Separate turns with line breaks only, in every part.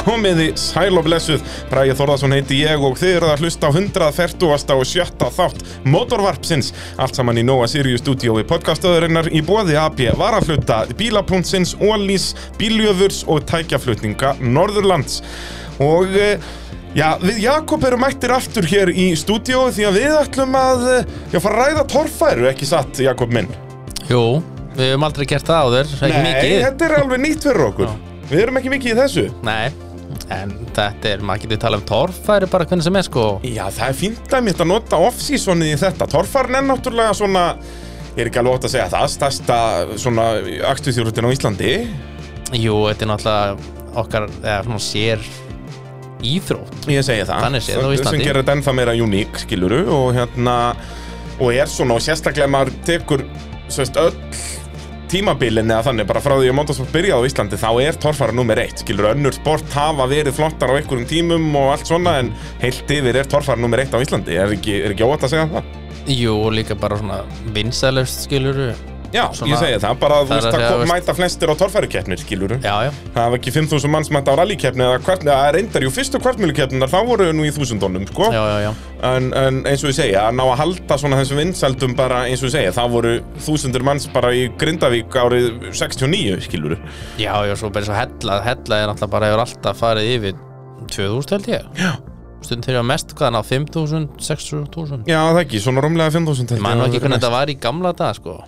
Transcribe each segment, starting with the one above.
komiði sæl og blessuð Bræði Þorðarsson heiti ég og þið eruð að hlusta á 140. og 7. þátt Motorvarpsins, allt saman í Nóa Sirius stúdíói podcastöðurinnar í bóði AB Varafluta, Bílapúntsins, Ólís, Bíljöfurs og Tækjaflutninga Norðurlands og eh, Já, við Jakob erum mættir aftur hér í stúdíó því að við ætlum að, eh, já, fara að ræða torfæru, ekki satt, Jakob minn?
Jú, við hefum aldrei gert það áður, ekki
Nei, hérna-
mikið
þetta er alveg nýtt fyrir okkur. Við erum ekki mikið í þessu.
Nei, en þetta er, maður getur talað um torfæri bara hvernig sem er sko
Já, það er fínt að mér að nota off-seasonið í þetta. Torfarn er náttúrulega svona, ég er ekki alveg ótt að segja það, stærsta svona aktuðþjórutin á Íslandi.
Jú, þetta er náttúrulega okkar, eða svona sér íþrótt
Ég segi það.
Þannig séð á Íslandi.
Sem gerir þetta ennþá meira uník, skiluru, og hérna, og er svona, og sérstaklega maður tekur, svo veist, öll tímabilin eða þannig, bara frá því að motorsport byrjaði á Íslandi, þá er torfara nummer eitt, skilur, önnur sport hafa verið flottar á einhverjum tímum og allt svona, en heilt yfir er torfara nummer eitt á Íslandi, er ekki, er ekki óvægt að segja það?
Jú, og líka bara svona vinsælust skiluru
Já,
Svona-
ég segi það, bara að þú
Það er
veist
að
að
segja,
kom-
veist-
mæta flestir á torfærukeppnir, skilur
Já, já,
Það var ekki 5.000 manns mæta á rallykeppni eða hvern, eða reyndar, jú, fyrstu kvartmjölukeppninar þá voru nú í þúsundunum, sko
já, já, já
en, en eins og ég segi, að ná að halda svona þessum vinsældum bara, eins og ég segi, þá voru þúsundur manns bara í Grindavík árið 69, skilur
Já, já, svo bara svo hella, hella er náttúrulega bara hefur alltaf farið yfir 2000 held ég
Já.
Stundum þegar mest hvað, ná 5.000, 6.000
Já, það ekki, svona rúmlega 5.000 held ég
Man nú
að hafi verið
ekki hvernig
mest.
þetta var í gamla dag sko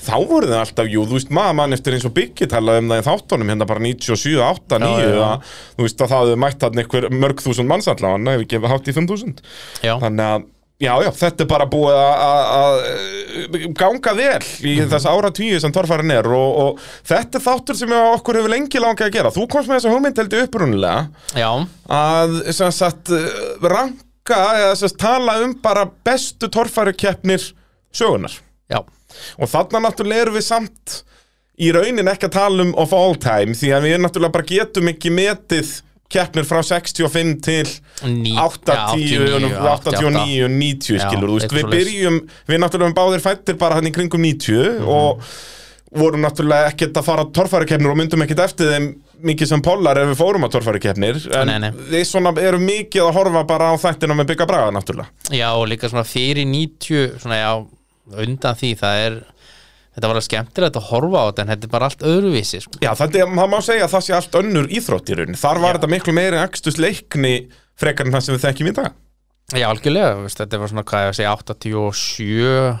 Þá voru það alltaf, jú, þú veist, maður mann eftir eins og Biggi talaði um það í þáttunum, hérna bara 97, 8,
Já,
9
já, já.
að, Þú veist að það hafði mætt hann einhver mörg þúsund manns allavega, ef ekki hátt í 5.000
Já,
Þannig að, já, já, þetta er bara búið að- að að, eh, ganga vel í þess ára tíu sem torfærin er og, og þetta er þáttur sem að okkur hefur lengi langið að gera. Þú komst með þessa hugmynd heldur upprunnilega
já
að, sem sagt, eh, ranka eða sem sagt, tala um bara bestu torfærukeppnir sögunar.
Já,
Og þarna náttúrulega erum við samt í raunin ekki að tala um of all time því að við náttúrulega bara getum ekki metið keppnir frá 65 til
Ný-
80,
89,
89, 90
Já,
skilur, þú veist,
eitthvað
við
svoleiðis.
byrjum við náttúrulega erum báðir fættir bara hann í kringum 90
Mhm.
og vorum náttúrulega ekkert að fara á torfærukefnir og myndum ekkert eftir þeim mikið sem pollar ef við fórum á torfærukefnir en
Nei, nei.
við svona erum mikið að horfa bara á þættina með bygga braga náttúrulega
Já, og líka svona fyrir 90 svona já, undan því það er þetta var alveg skemmtilegt að horfa á þetta en þetta er bara allt öðruvísi sko.
Já, þetta, er- það má segja að það sé allt önnur íþrótt í raun þar var þetta miklu meiri akstus leikni frekar en það sem við þekkjum í dag
Já, algjörlega, þú veist, þetta var svona hvað ég að segja 87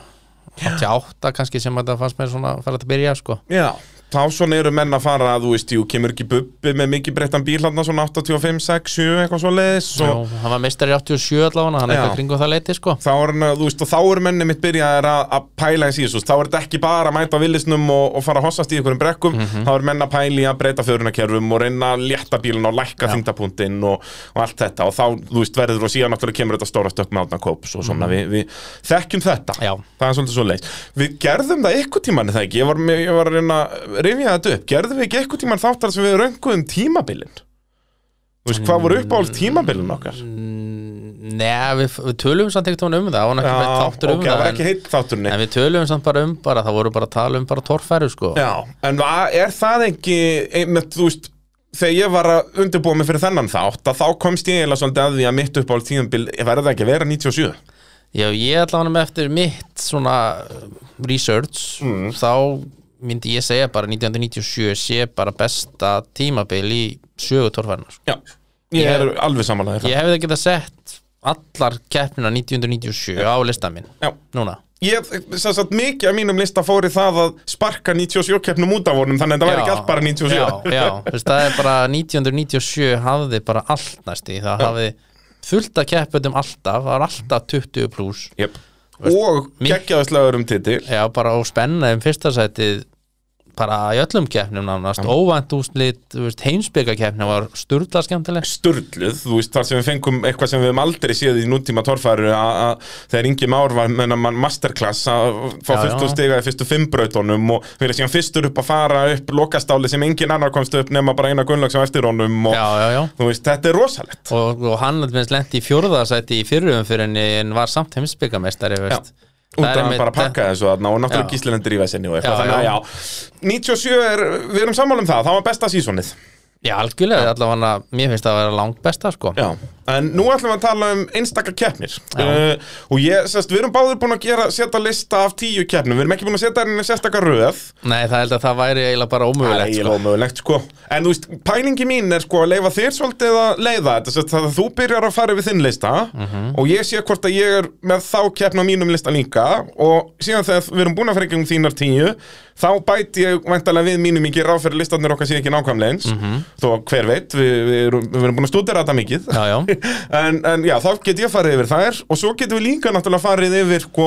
88 kannski sem þetta fannst mér svona að fara að byrja sko.
Já Þá svona eru menn að fara að, þú veist, jú, kemur ekki bubbi með mikið breyttan bíl hann svona 85, 6, 7, eitthvað svo leiðis
Já,
og
hann var meistari 87 allavega hann er
Já.
eitthvað kringum það leiti sko.
þá er, hann, þú veist, og þá er menni mitt byrjaðir að, að pæla í síðust, þá er þetta ekki bara að mæta á villisnum og, og fara að hossast í einhverjum brekkum
Mhm.
þá er menn að pæla í að breyta fjörunakerfum og reyna að létta bílun og lækka þingdapunktinn og, og allt þetta og þá, þú veist, verður og síðan náttúrulega kemur þetta stóra stökk með átna kóps og svona, við, við þekkjum þetta
Mhm. Já.
það er svolítið svo leið við gerðum það eitthvað tíman, er það ekki ég var, með- ég var að reyna að rifja þetta upp gerðum við ekki eitthvað tíman þáttar sem við rönguðum tímabilin þú veist, hvað voru uppáhalds tímabilin okkar?
Mm, Nei, við, við tölum samt ekkert um það það var nú ekki
Já,
bara þáttur um
ok, það
það
var
en,
ekki heitt þátturinn
en við tölum samt bara um bara það voru bara að tala um bara torfæru sko.
Já, en va- er það ekki einmitt, þú veist, þegar ég var að undirbúa mig fyrir þennan þátt að þá komst ég eiginlega svolítið að því að mitt uppáhald tíðanbíl verði það ekki að vera 97
Já, ég ætla hann með eftir mitt svona uh, research
Mm.
þá myndi ég segja bara 1997 sé bara besta tímabil í sögu torfærin sko.
Já, ég er
Ég-
alveg samanlega það
Ég hefði getað sett allar keppnina 1997 á lista minn
Já,
núna
ég, sem sagt, mikið af mínum lista fór í það að sparka 97 keppnum út af honum þannig að það væri ekki allt bara 97
Já, já, þú veist, það er bara 1997 hafði bara allt næst í það hafði fullt að keppum alltaf, það var alltaf 20 pluss
Jep. Og
Mink-
geggjaðislegur um titil
Já, bara og spenna um fyrsta sætið bara í öllum keppnum nánast, óvænt úslit, þú veist, heimsbyggakeppni var sturla skemmtileg
sturluð, þú veist, þar sem við fengum eitthvað sem við höfum aldrei séð í nútíma torfæru að að þegar Ingi Már var með mann masterclass að fá
Já,
fullt
já.
og stiga í fyrstu fimm brautunum og við erum síðan fyrstur upp að fara upp lokastáli sem engin annar komst upp nema bara eina Gunnlaugs á eftir honum og
Já, já, já
þú veist, þetta er rosalegt
Og, og hann minnst lendi í fjórðasæti í fyrrum fyrir henni en var samt heimsbyggamestari, veist
út
Það
af hann
er einmitt- eh,
bara pakka þessu þarna og náttúrulega
Já.
gíslendir í vesinni og eitthvað,
Já,
þannig að já 97 er, við erum sammála um það, það var besta sísonið
Já, algjörlega, allavega mér finnst það að vera langbesta sko
Já, en nú ætlum við að tala um einstaka keppnir uh, og ég, sérst, við erum báður búin að gera setja lista af tíu keppnum, við erum ekki búin að setja henni sérstakar röð
Nei, það held að það væri eiginlega bara
Það
ómögulegt
er
sko.
ómögulegt sko En þú veist, pælingi mín er sko að leifa þér svolítið að leiða þetta sérst, það að þú byrjar að fara yfir þinn lista og ég sé hvort að ég er með þá keppna á mínum lista líka og síðan þegar við erum búin að fara ekki um þínar tíu þá bæti ég væntalega við mínum ekki ráð fyrir listarnir okkar sé ekki nákvæmleins mm þó hver veit, við, við, erum, við erum búin að stúdera þetta mikið
Já, já,
en, en já, þá get ég farið yfir þær og svo getum við líka náttúrulega farið yfir sko,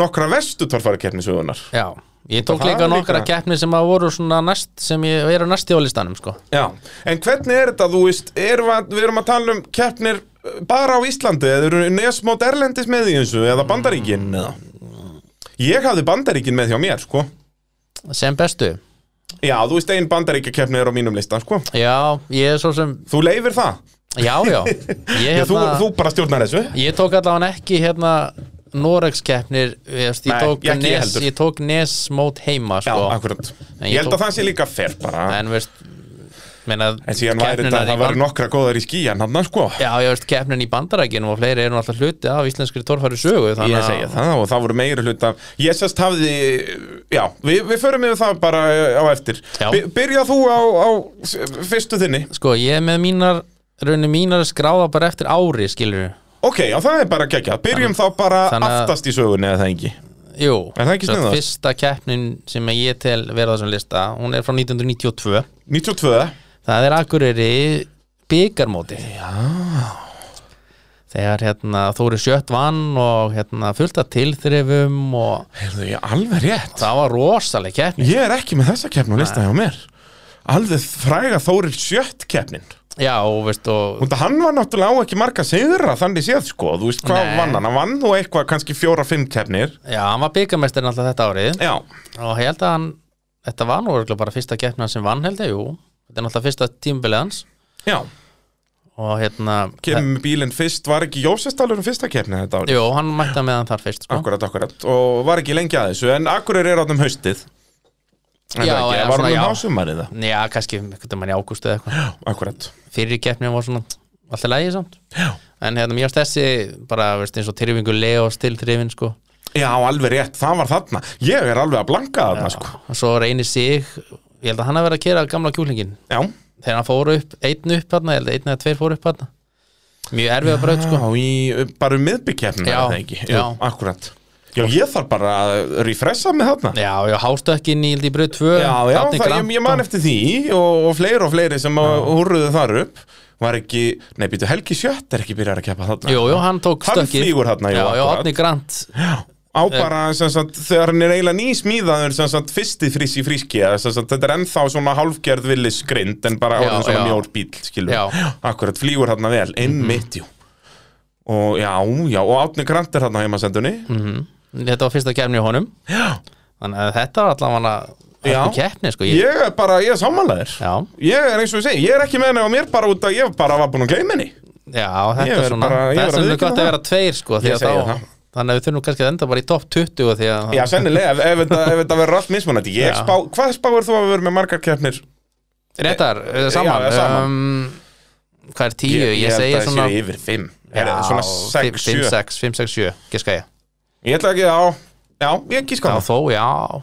nokkra vestu torfarakernisögunar
já Ég tók
Það
líka
er
nokkra
líka-
keppni sem að voru svona næst sem ég eru næst í á listanum sko
Já, en hvernig er þetta, þú veist, erum við, við erum að tala um keppnir eh, bara á Íslandi eða eru nesmót Erlendis með í þessu eða Bandaríkin eða Ég hafði Bandaríkin með hjá mér, sko
sem bestu
Já, þú veist, ein Bandaríkjakeppni er á mínum lista, sko
Já, ég er svo sem,
Þú leifir það,
já, já Ég,
já, þú,
hérna,
þú bara stjórnar þessu
ég tók allavega ekki hérna Norex keppnir ég, veist, ég,
Nei,
tók
ég ekki
nes,
heldur.
ég tók nes mót heima
Já,
sko.
akkurat
En
Ég
ég
held
tók-
að það sé líka fer bara
en veist meina,
En síðan væri
keppnin
þetta,
að-
það væri nokkra góðar í skíjan, hann, sko
Já, ég veist, keppnin í bandarækjunum og fleiri eru nú alltaf hluti af íslenskri torfæri sögu
Ég segja það og það voru meiri hlut af Ég sérst hafði, já, við, við förum yfir það bara eh, á eftir
Já.
By- Byrja þú á, á s- fyrstu þinni
Sko, ég er með mínar, rauninu mínar skráða bara eftir ári, skilur
Ok, já, það er bara geggjað Byrjum þá bara
Þannig að-
aftast í sögunni eða það ekki
Jú,
Er það ekki
sem sagt,
sniðugt?
Fyrsta keppnin sem ég tel verða á þessum lista, hún er frá 1992
92
Það er Akureyri byggarmóti Já Þegar hérna Þóri Sjött vann og hérna fullt af tilþrifum og
Heyrðu, ég alveg rétt
það var rosaleg keppni
Ég er ekki með þessa keppn og lista hjá mér Alveg fræga Þóril sjött keppnin
Já, og veist, og
Og hann var náttúrulega á ekki marga sigra þannig séð sko, þú veist hvað
Nei.
vann hann hann vann þú eitthvað kannski fjóra-fimm keppnir
já, hann var byggarmestirinn alltaf þetta árið
Já,
og ég held að hann þetta var nú örugglega bara fyrsta keppni hans sem vann held ég, jú þetta er náttúrulega fyrsta tímbilið hans
já,
og hérna,
kemur bílinn fyrst var ekki Jósestalur um fyrsta keppni þetta árið
jú, hann mætti með hann þar fyrst sko.
Akkurat, akkurat, og var ekki lengi að þessu En Akureyri er áttum haustið Er það
Já,
ekki,
já,
var hún
svona,
um
já.
hásumarið það
já, kannski einhvern veginn í ágústu eða eitthvað
Akkurat,
fyrir keppni var svona alltaf lægið samt
já
en hérna, mér varst þessi bara, veist, eins og tilfingu Leos til tilþrifin sko.
Já, alveg rétt, það var þarna Ég er alveg að blanka þarna, sko
og svo reynir sig ég held að hann að vera að kera gamla kjúlingin
Já,
þegar hann fór upp, einn upp hann ég held að einn eða tveir fór upp hann mjög erfið að braut sko.
já í, bara um miðbyggkeppnum
Já,
er það ekki
já.
Akkurat Já, ég þarf bara að refressa með þarna
já, já, hástökkin í, í braut 2
Já, já, það, ég, ég man eftir því og, og fleiri og fleiri sem að húrruðu þar upp Var ekki, nei, býtu, Helgi Sjött er ekki byrjar að keppa þarna
Jú, jú, hann tók
Hann
stökkið
flýgur þarna, jú,
Já, já,
akkurat.
Átni Grant
á
Eh.
bara sem sagt, þegar hann er eiginlega nýsmíðaður sem sagt, fyrsti frís í fríski eða sem sagt, þetta er ennþá svona hálfgerð villis grind en bara
Já,
orðin svona
já.
mjór bíl skilur,
Já. Mhm.
akkurat flýgur hann vel einmitt, jú og já, já, og Átni Grant er hann á heimasendunni
Mhm. Hm. Þetta var fyrsta kefni í honum Já Þannig að þetta var allavega
Já.
hörku keppni sko ég,
ég er bara, ég er sammálaður
Já,
ég er eins og ég segi, ég er ekki með henni á mér bara út að ég bara var búin að gleyma henni
já, þetta
Ég verð
er svona
bara- ég
Það
verð
er
að
sem við
viðurkenna
gott að
það.
vera tveir sko því
Ég
að
segi
þá-
það.
Þannig að við þurfum kannski að enda bara í topp 20 því að
já, sennilega, ef, ef, þetta- ef þetta verður allt mismunandi ég
Já.
spá, hvað spáir þú að vera með margar keppnir?
Réttar, eh, saman,
Já, saman.
Um, Hvað er 10? Ég,
held
segi
að
svona
sé yfir fimm Heyrðu, svona 6,
5,
7
6, 5, 6, 7 Giska ég
Ég ætla ekki, já, já, ég gíska á
Já,
það
þó, já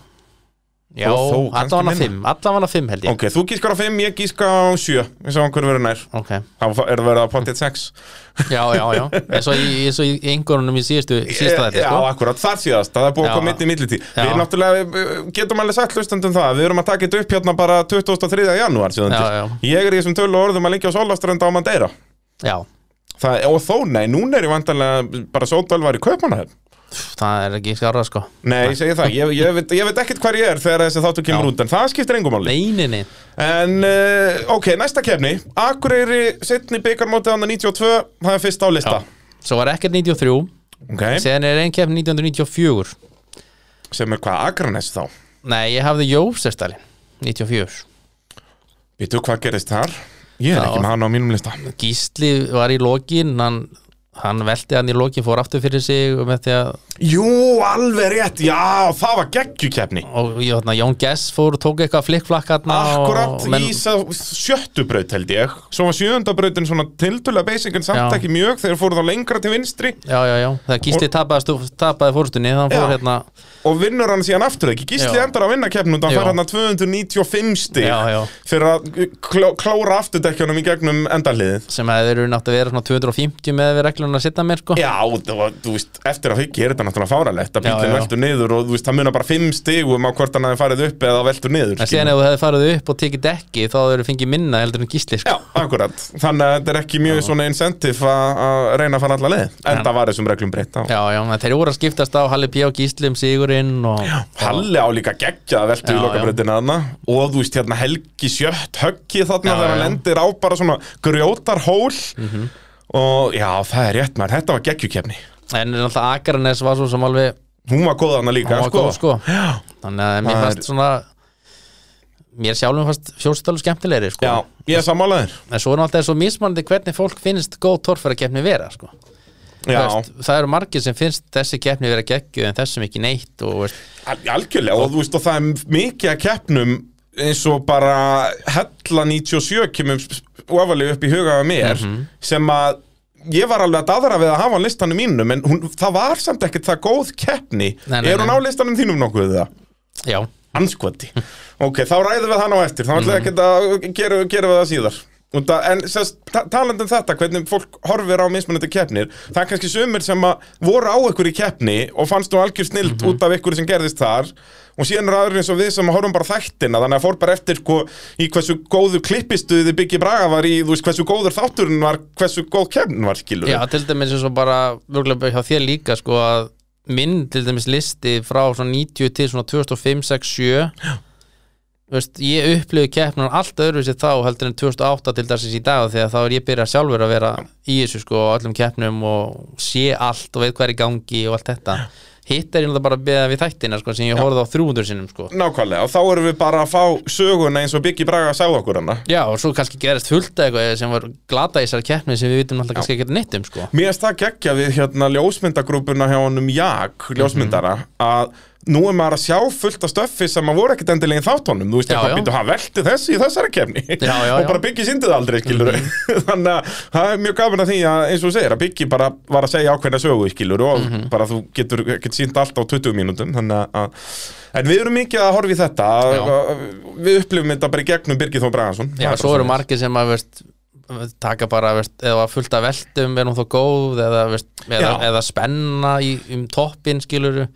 Já,
Þó- þó, kannski
allavega
minna.
5 Allavega 5 held ég
Ok, þú gískar á 5, ég gíska á 7 Við sjáum hverju verður nær
Ok,
Þá er það verið að pontið 6
já, já, já Eins og í- eins og í einhverjunum í síðustu Síðsta þetta,
Eh, Já,
sko
akkurat, þar síðast, það er búið að
Já.
koma mitt í millití Við
Já.
náttúrulega við getum alveg sagt hlustandum það Við erum að taka þetta upp hérna bara 23. janúar síðan
Já, já.
til Ég er í þessum tölu orðum að lengja á Sólaströnda á Madeira
Já,
það, Og þó, nei, núna er ég vandalega bara Sóldal var í Kaupmannahöfn
það er ekki skárað sko
Nei, ég segi það, ég, ég, veit, ég veit ekkert hver ég er þegar þessi þáttu kemur
Já.
út En það skiptir engum máli
Leininni
En uh, ok, næsta kefni Akureyri, setni byggarmótið hann 92, það er fyrst á lista
Svo var ekkert 93
Ok,
Síðan er einn keppn 1994
sem er hvað Akranes þá
Nei, ég hafði Jófsestali 94
Býtu hvað gerist þar? Ég er
Já.
ekki með hann á mínum lista
Gísli var í lokin Hann hann velti hann í lokin fór aftur fyrir sig og, með því að,
Jú, alveg rétt, já, það var geggjukefni
og já, þarna, Jón Gess fór og tók eitthvað flikkflakkarna
Akkurat
og, menn,
í sá- sjöttu braut held ég Svo var sjöunda brautin svona tiltulega basic En samt
Já.
ekki mjög þegar fóru þá lengra til vinstri
já, já, já, þegar Gísli tapaði, stú, tapaði fórstunni þannig fór
Já.
hérna
Og vinnur hann síðan aftur ekki Gísli
Já.
endar að vinna keppnum Það
Já.
fær hann að 295 stig
Já, já.
Fyrir að kló, klóra afturdekkjunum í gegnum endarliðið
sem að þeir eru nátt að vera svona 250 með við reglunum að sitta mér sko
Já, það var, þú veist, eftir að þykja er þetta náttúrulega fáralegt að
Já,
bílinn
já.
veltur niður og þú veist, það munar bara 5 stigum á hvort hann hefði farið upp eða veltur niður
en síðan
skilur.
ef þú hefði farið upp og tekið dekki þá hefur þú fengið minna heldur en Gísli sko
Já, akkurat, þannig að þetta er ekki mjög svona incentive að að reyna að fara alla leið En það var þessum reglum breytt á
já, já, en þeir voru að skiptast á Halli P. og Gísli um sigurinn og
Halli á líka geggja að veltu í
Já,
lokabröndina þarna og þú veist hérna Helgi sjött höggi þarna
Já, Mhm.
þegar hann
já.
lendir á bara svona grjótarhól og já það er rétt maður, þetta var geggjukefni
en náttúrulega Akranes var svo sem alveg
hún var góð hana líka
Hún var góð, sko.
Já,
þannig að mér
Það er-
fannst svona mér sjálfum fannst fjórstölu skemmtilegri sko.
já, ég er sammálaður
en svo er náttúrulega svo mismanandi hvernig fólk finnst góð torfærakeppni vera sko. Þú
Já,
veist, það eru margir sem finnst þessi keppni vera geggju en þessum ekki neitt og, veist,
al- algjörlega og þú veist og það er mikið að keppnum eins og bara hella 97 kemur ofalega upp í hugaða mér
Mhm.
sem að ég var alveg að daðra við að hafa hann listanum mínum en hún, það var samt ekkert það góð keppni
Nei, nei,
er hún
nei.
á listanum þínum nokkuð það?
já,
anskoti ok, þá ræðum við hann á eftir þá ætlaði ekki að gera, gera við það síðar Út að- en sest, ta talandi um þetta hvernig fólk horfir á mismunandi keppnir það er kannski sumir sem að voru á ykkur í keppni og fannst nú algjör snild út af ykkur sem gerðist þar og síðan er aðrir eins og við sem horfum bara á þættina þannig að fór bara eftir sko, í hversu góðu klippistuði Biggi Braga var í þú veist, hversu góður þátturinn var hversu góð keppnin var skilur
já, til dæmis eins og bara vörgulega hjá þér líka sko, að minn til dæmis listi frá svona 90 til svona 2005, 6, 7 veist, ég upplifu keppnum allt öðruvísi þá heldur en 2008 til dæmis í dag þegar þá er ég byrjað sjálfur að vera í þessu sko á öllum keppnum og sé allt og veit hvað er í gangi og allt þetta hitt er ég náttúrulega bara að beða við þættina sko sem ég horfði á 300 sinnum sko
nákvæmlega og þá erum við bara að fá söguna eins og Biggi Braga sagði okkur hana
Já, og svo kannski gerist fullt af eitthvað sem var glata í þessari keppni sem við vitum alltaf kannski ekkert neitt um sko
Mér erst það geggja við hérna ljósmyndagrúpuna hjá honum Jak,
Mhm.
ljósmyndara að nú er maður að sjá fullt af stöffi sem að voru ekkit endilegin þátt honum þú veist
Já,
eitthvað
já.
býtu, hann velti þessu í þessari kefni
Já, já, Mhm.
og
já.
bara Biggi syndi það aldrei skilur þannig að það er mjög gaman að því að eins og þú segir að Biggi bara var að segja ákveðna sögu skilur og
Mhm.
bara þú getur ekkit sínt allt á 20 mínútum þannig að en við erum mikið að horfa í þetta að-
Já.
að- við upplifum þetta bara í gegnum Birgir Þór Bragansson Það er
Já, svo
bara
eru
svoleiðis.
margir sem að veist, taka bara, veist, eða var fullt af veltum er hún þó góð, eða, veist, eða,
Já.
eða spenna í, um toppin skiluru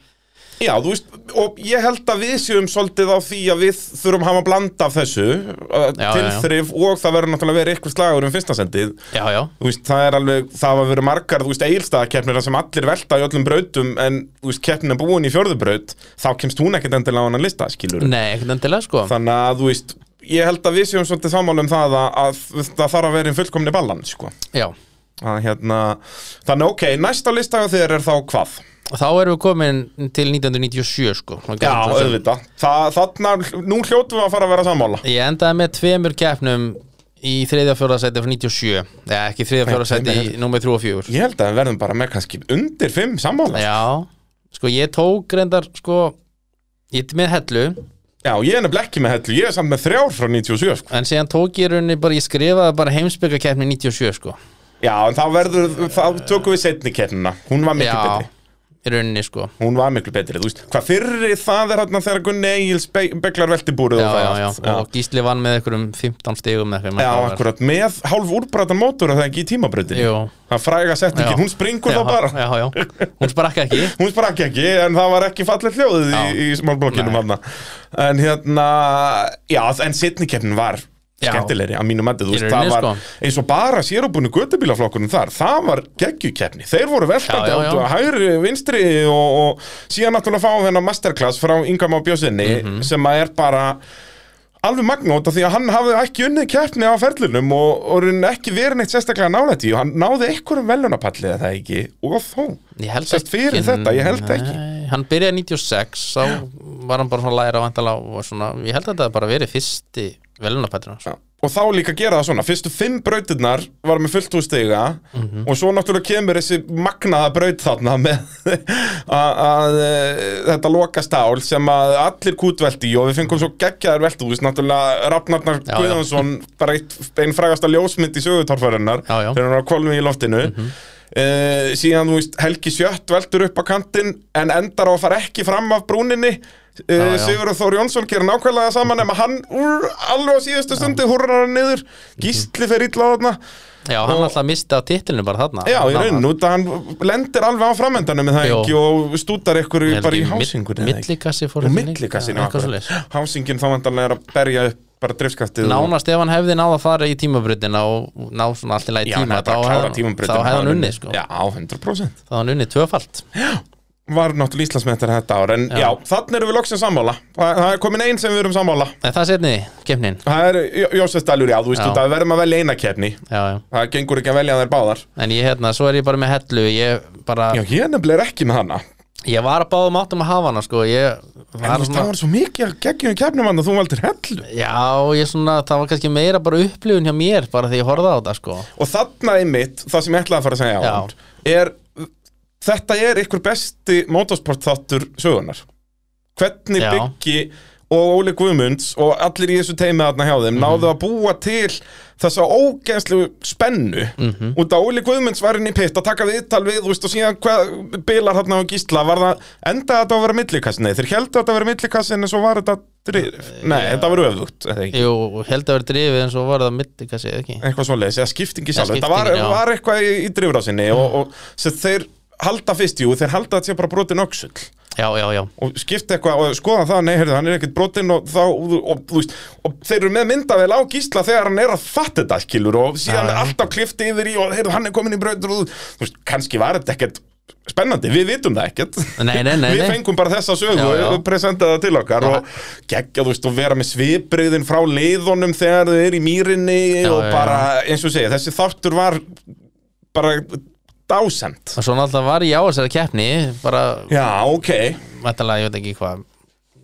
Já, þú veist, og ég held að við séum svolítið á því að við þurfum að hafa bland af þessu uh,
Já,
tilþrif og það verður náttúrulega verið eitthvað slagur um fyrsta sendið
Já, já,
Þú veist, það er alveg, það hafa verið margar, þú veist, eilstaðakeppnir sem allir velta í öllum brautum en, þú veist, keppnin er búin í fjörðubraut þá kemst hún ekkert endilega á hann lista, skilur
nei, ekkert endilega sko
Þannig að, þú veist, ég held að við séum svolítið sammála um það að, að það þarf að vera í fullkomni ballan, sko
Já,
að, hérna, Þannig, ok, næsta lista á þér er þá hvað?
og þá erum við komin til 1997 sko
Já,
Og gerðum þetta.
auðvitað. Það, þarna, nú hljótum við að fara að vera sammála.
Ég endaði með tveimur keppnum í þriðja og fjóra sæti frá 97 Já, ekki þriðja og fjóra sæti í númer 3 og 4
Ég held að við verðum bara með kannski undir fimm sammála.
Já, sko ég tók reyndar sko, ég er með hellu
Já, ég er nefnilega ekki með hellu. Ég er samt með þrjár frá 97, sko.
en síðan tók ég í rauninni bara, ég skrifaði bara heimsbyggakeppni 97 sko
Já, en þá verður, þá tökum við setni keppnina. Hún var miklu
Já,
betri.
í rauninni sko
Hún var miklu betri, þú veist. Hvað fyrri það er hérna þegar Gunni Egil beglar veltibúrið
já,
og það
já, já.
allt. Já,
og Gísli vann með einhverjum 15 stigum eða eitthvað, ég man
Já,
hvað það var.
akkurat. Með hálf úrbrætan mótor og það ekki í tímabröðinni.
Jú.
Það fræga
Já.
setningin, hún springur
já,
þá bara.
já, já. hún sprakk ekki
Hún sprakk ekki, en það var ekki fallið hljóðið í, í
Já.
smálblokkinum
Nei.
hann En hérna, já, en setnikeppnin var
Já.
skemmtilegri að mínu mæti, þú veist, það
rauninni,
var
sko.
eins og bara sérubunni göttubílaflokkunum þar, það var geggjukeppni, þeir voru veltandi
Já, já, já.
áttu að hægri, vinstri og, og síðan náttúrulega fáum við hennar masterclass frá Inga Má Bjósinni
Mhm.
sem að er bara alveg magnót af því að hann hafði ekki unnið keppni á ferlinum og, og rauninni ekki verið neitt sérstaklega nálætti og hann náði einhverjum velunapallið eða ekki og þó,
Ég held
Sest fyrir þetta, ég held ekki.
Nei, hann byrjaði 96 þá var hann bara svona læra vantala og svona, ég held að þetta hafi bara verið fyrsti velunarpætturinn
Já.
sko.
og þá líka gera það svona fyrstu fimm brautirnar var með fullt úr stiga
Mhm.
og svo náttúrulega kemur þessi magnaða braut þarna með að að, eh, þetta lokastál sem að allir kútvelti í og við fengum svo geggjaðar veltu þú veist náttúrulega Rafnarnar
Já, já.
Guðjónsson bara eitt, einn frægasta ljósmynd í sögutorfarinnar
Já, já. Mhm.
þegar hann var að kolmi í loftinu mm síðan þú veist Helgi Sjött veltur upp á kantinn en endar á að fara ekki fram af brúninni
Já,
Uh,
já.
Sigurður Þór Jónsson gerir nákvæmlega saman nema hann úr alveg á síðustu stundu hurrar hann niður, gísli
Mhm.
fer illa á þarna
Já, hann alltaf misti að titlinu bara þarna
Já, í
Þarna.
raun, út að hann lendir alveg á framöndanum með það
Jó.
ekki og stútar ykkur
Er
bara í
ekki
hásingur
mill- Millikassi
og
fór ekki neitt,
millikassin
já, eitthvað svoleiðis.
Hásingin þá vantanlega er að berja upp bara driftskaftið og-
Nánast ef hann hefði náð að fara í tímabröðina og ná svona allt í lagi
Já, hann
tíma
er bara að klára tímambrautina,
þá hefði hann unnið sko.
Já, 100%
þá hefði hann unnið tvöfalt
Var náttúrulega Íslandsmetar þetta ár En já,
Já.
já þannig erum við loksin sammála Þa, Það er komin einn sem við erum sammála
En það setni, kemnin
Það er Jó- Jósefsdalur, já, þú veist
Já.
út að við verðum að velja eina kefni
já, já.
Það gengur ekki að velja þær báðar
En ég hérna, svo er ég bara með hellu Ég, bara,
Já, ég nefnilega er ekki með hana
ég var að báðum áttum að hafa hana sko. ég,
En þú veist, það var svo mikið geggjum í kefnum hann að þú valdir hellu
Já, ég svona, það var kannski meira bara upplifun hjá mér bara því ég horfði á þetta sko.
Og þarna einmitt, það sem ég ætlaði að fara að segja á
Já.
hann Er, þetta er ykkur besti motorsport þáttur sögunar Hvernig
Já.
byggi og Óli Guðmunds og allir í þessu teimi þarna hjá
Mhm.
þeim náðu að búa til þessa ógænslu spennu
Mhm.
út að Óli Guðmunds var inn í pitt að taka við yttal við þú veist, og síðan hvað bilar þarna á gísla var það enda þetta að vera millikassin nei þeir heldur þetta að vera millikassin en svo var þetta drif nei þetta var öfugt eða ekki
Jú, held að vera drifið en svo var það mitt, kannski eða ekki
eitthvað svoleiðis, eða skipting í
Já,
sjálf þetta var,
skiptingin, já.
var eitthvað í, í drifrásinni og, og sem þeir halda fyrst, jú, þeir halda að sé bara brotin öxull
Já, já, já,
og skipta eitthvað og skoða það, nei, heyrðu, hann er ekkert brotin og þá, og, og, þú veist, og þeir eru með myndavel á gísla þegar hann er að fatta þetta skilur og síðan
Já, já.
alltaf klift yfir í og heyrðu, hann er komin í brautur og þú- þú veist, kannski var þetta ekkert spennandi, við vitum það ekkert
Nei, nei, nei,
við
nei.
fengum bara þessa sögu
Já, já.
og presentaði það til okkar
Já.
og geggja, þú veist, og vera með svipriðin frá leiðunum þegar þau eru í mýrinni
Já,
og
já, já.
bara, eins og segja, þessi þáttur var bara dásend
og svona alltaf var ég á þessari keppni bara,
Já, ok,
mættalega, ég veit ekki hvað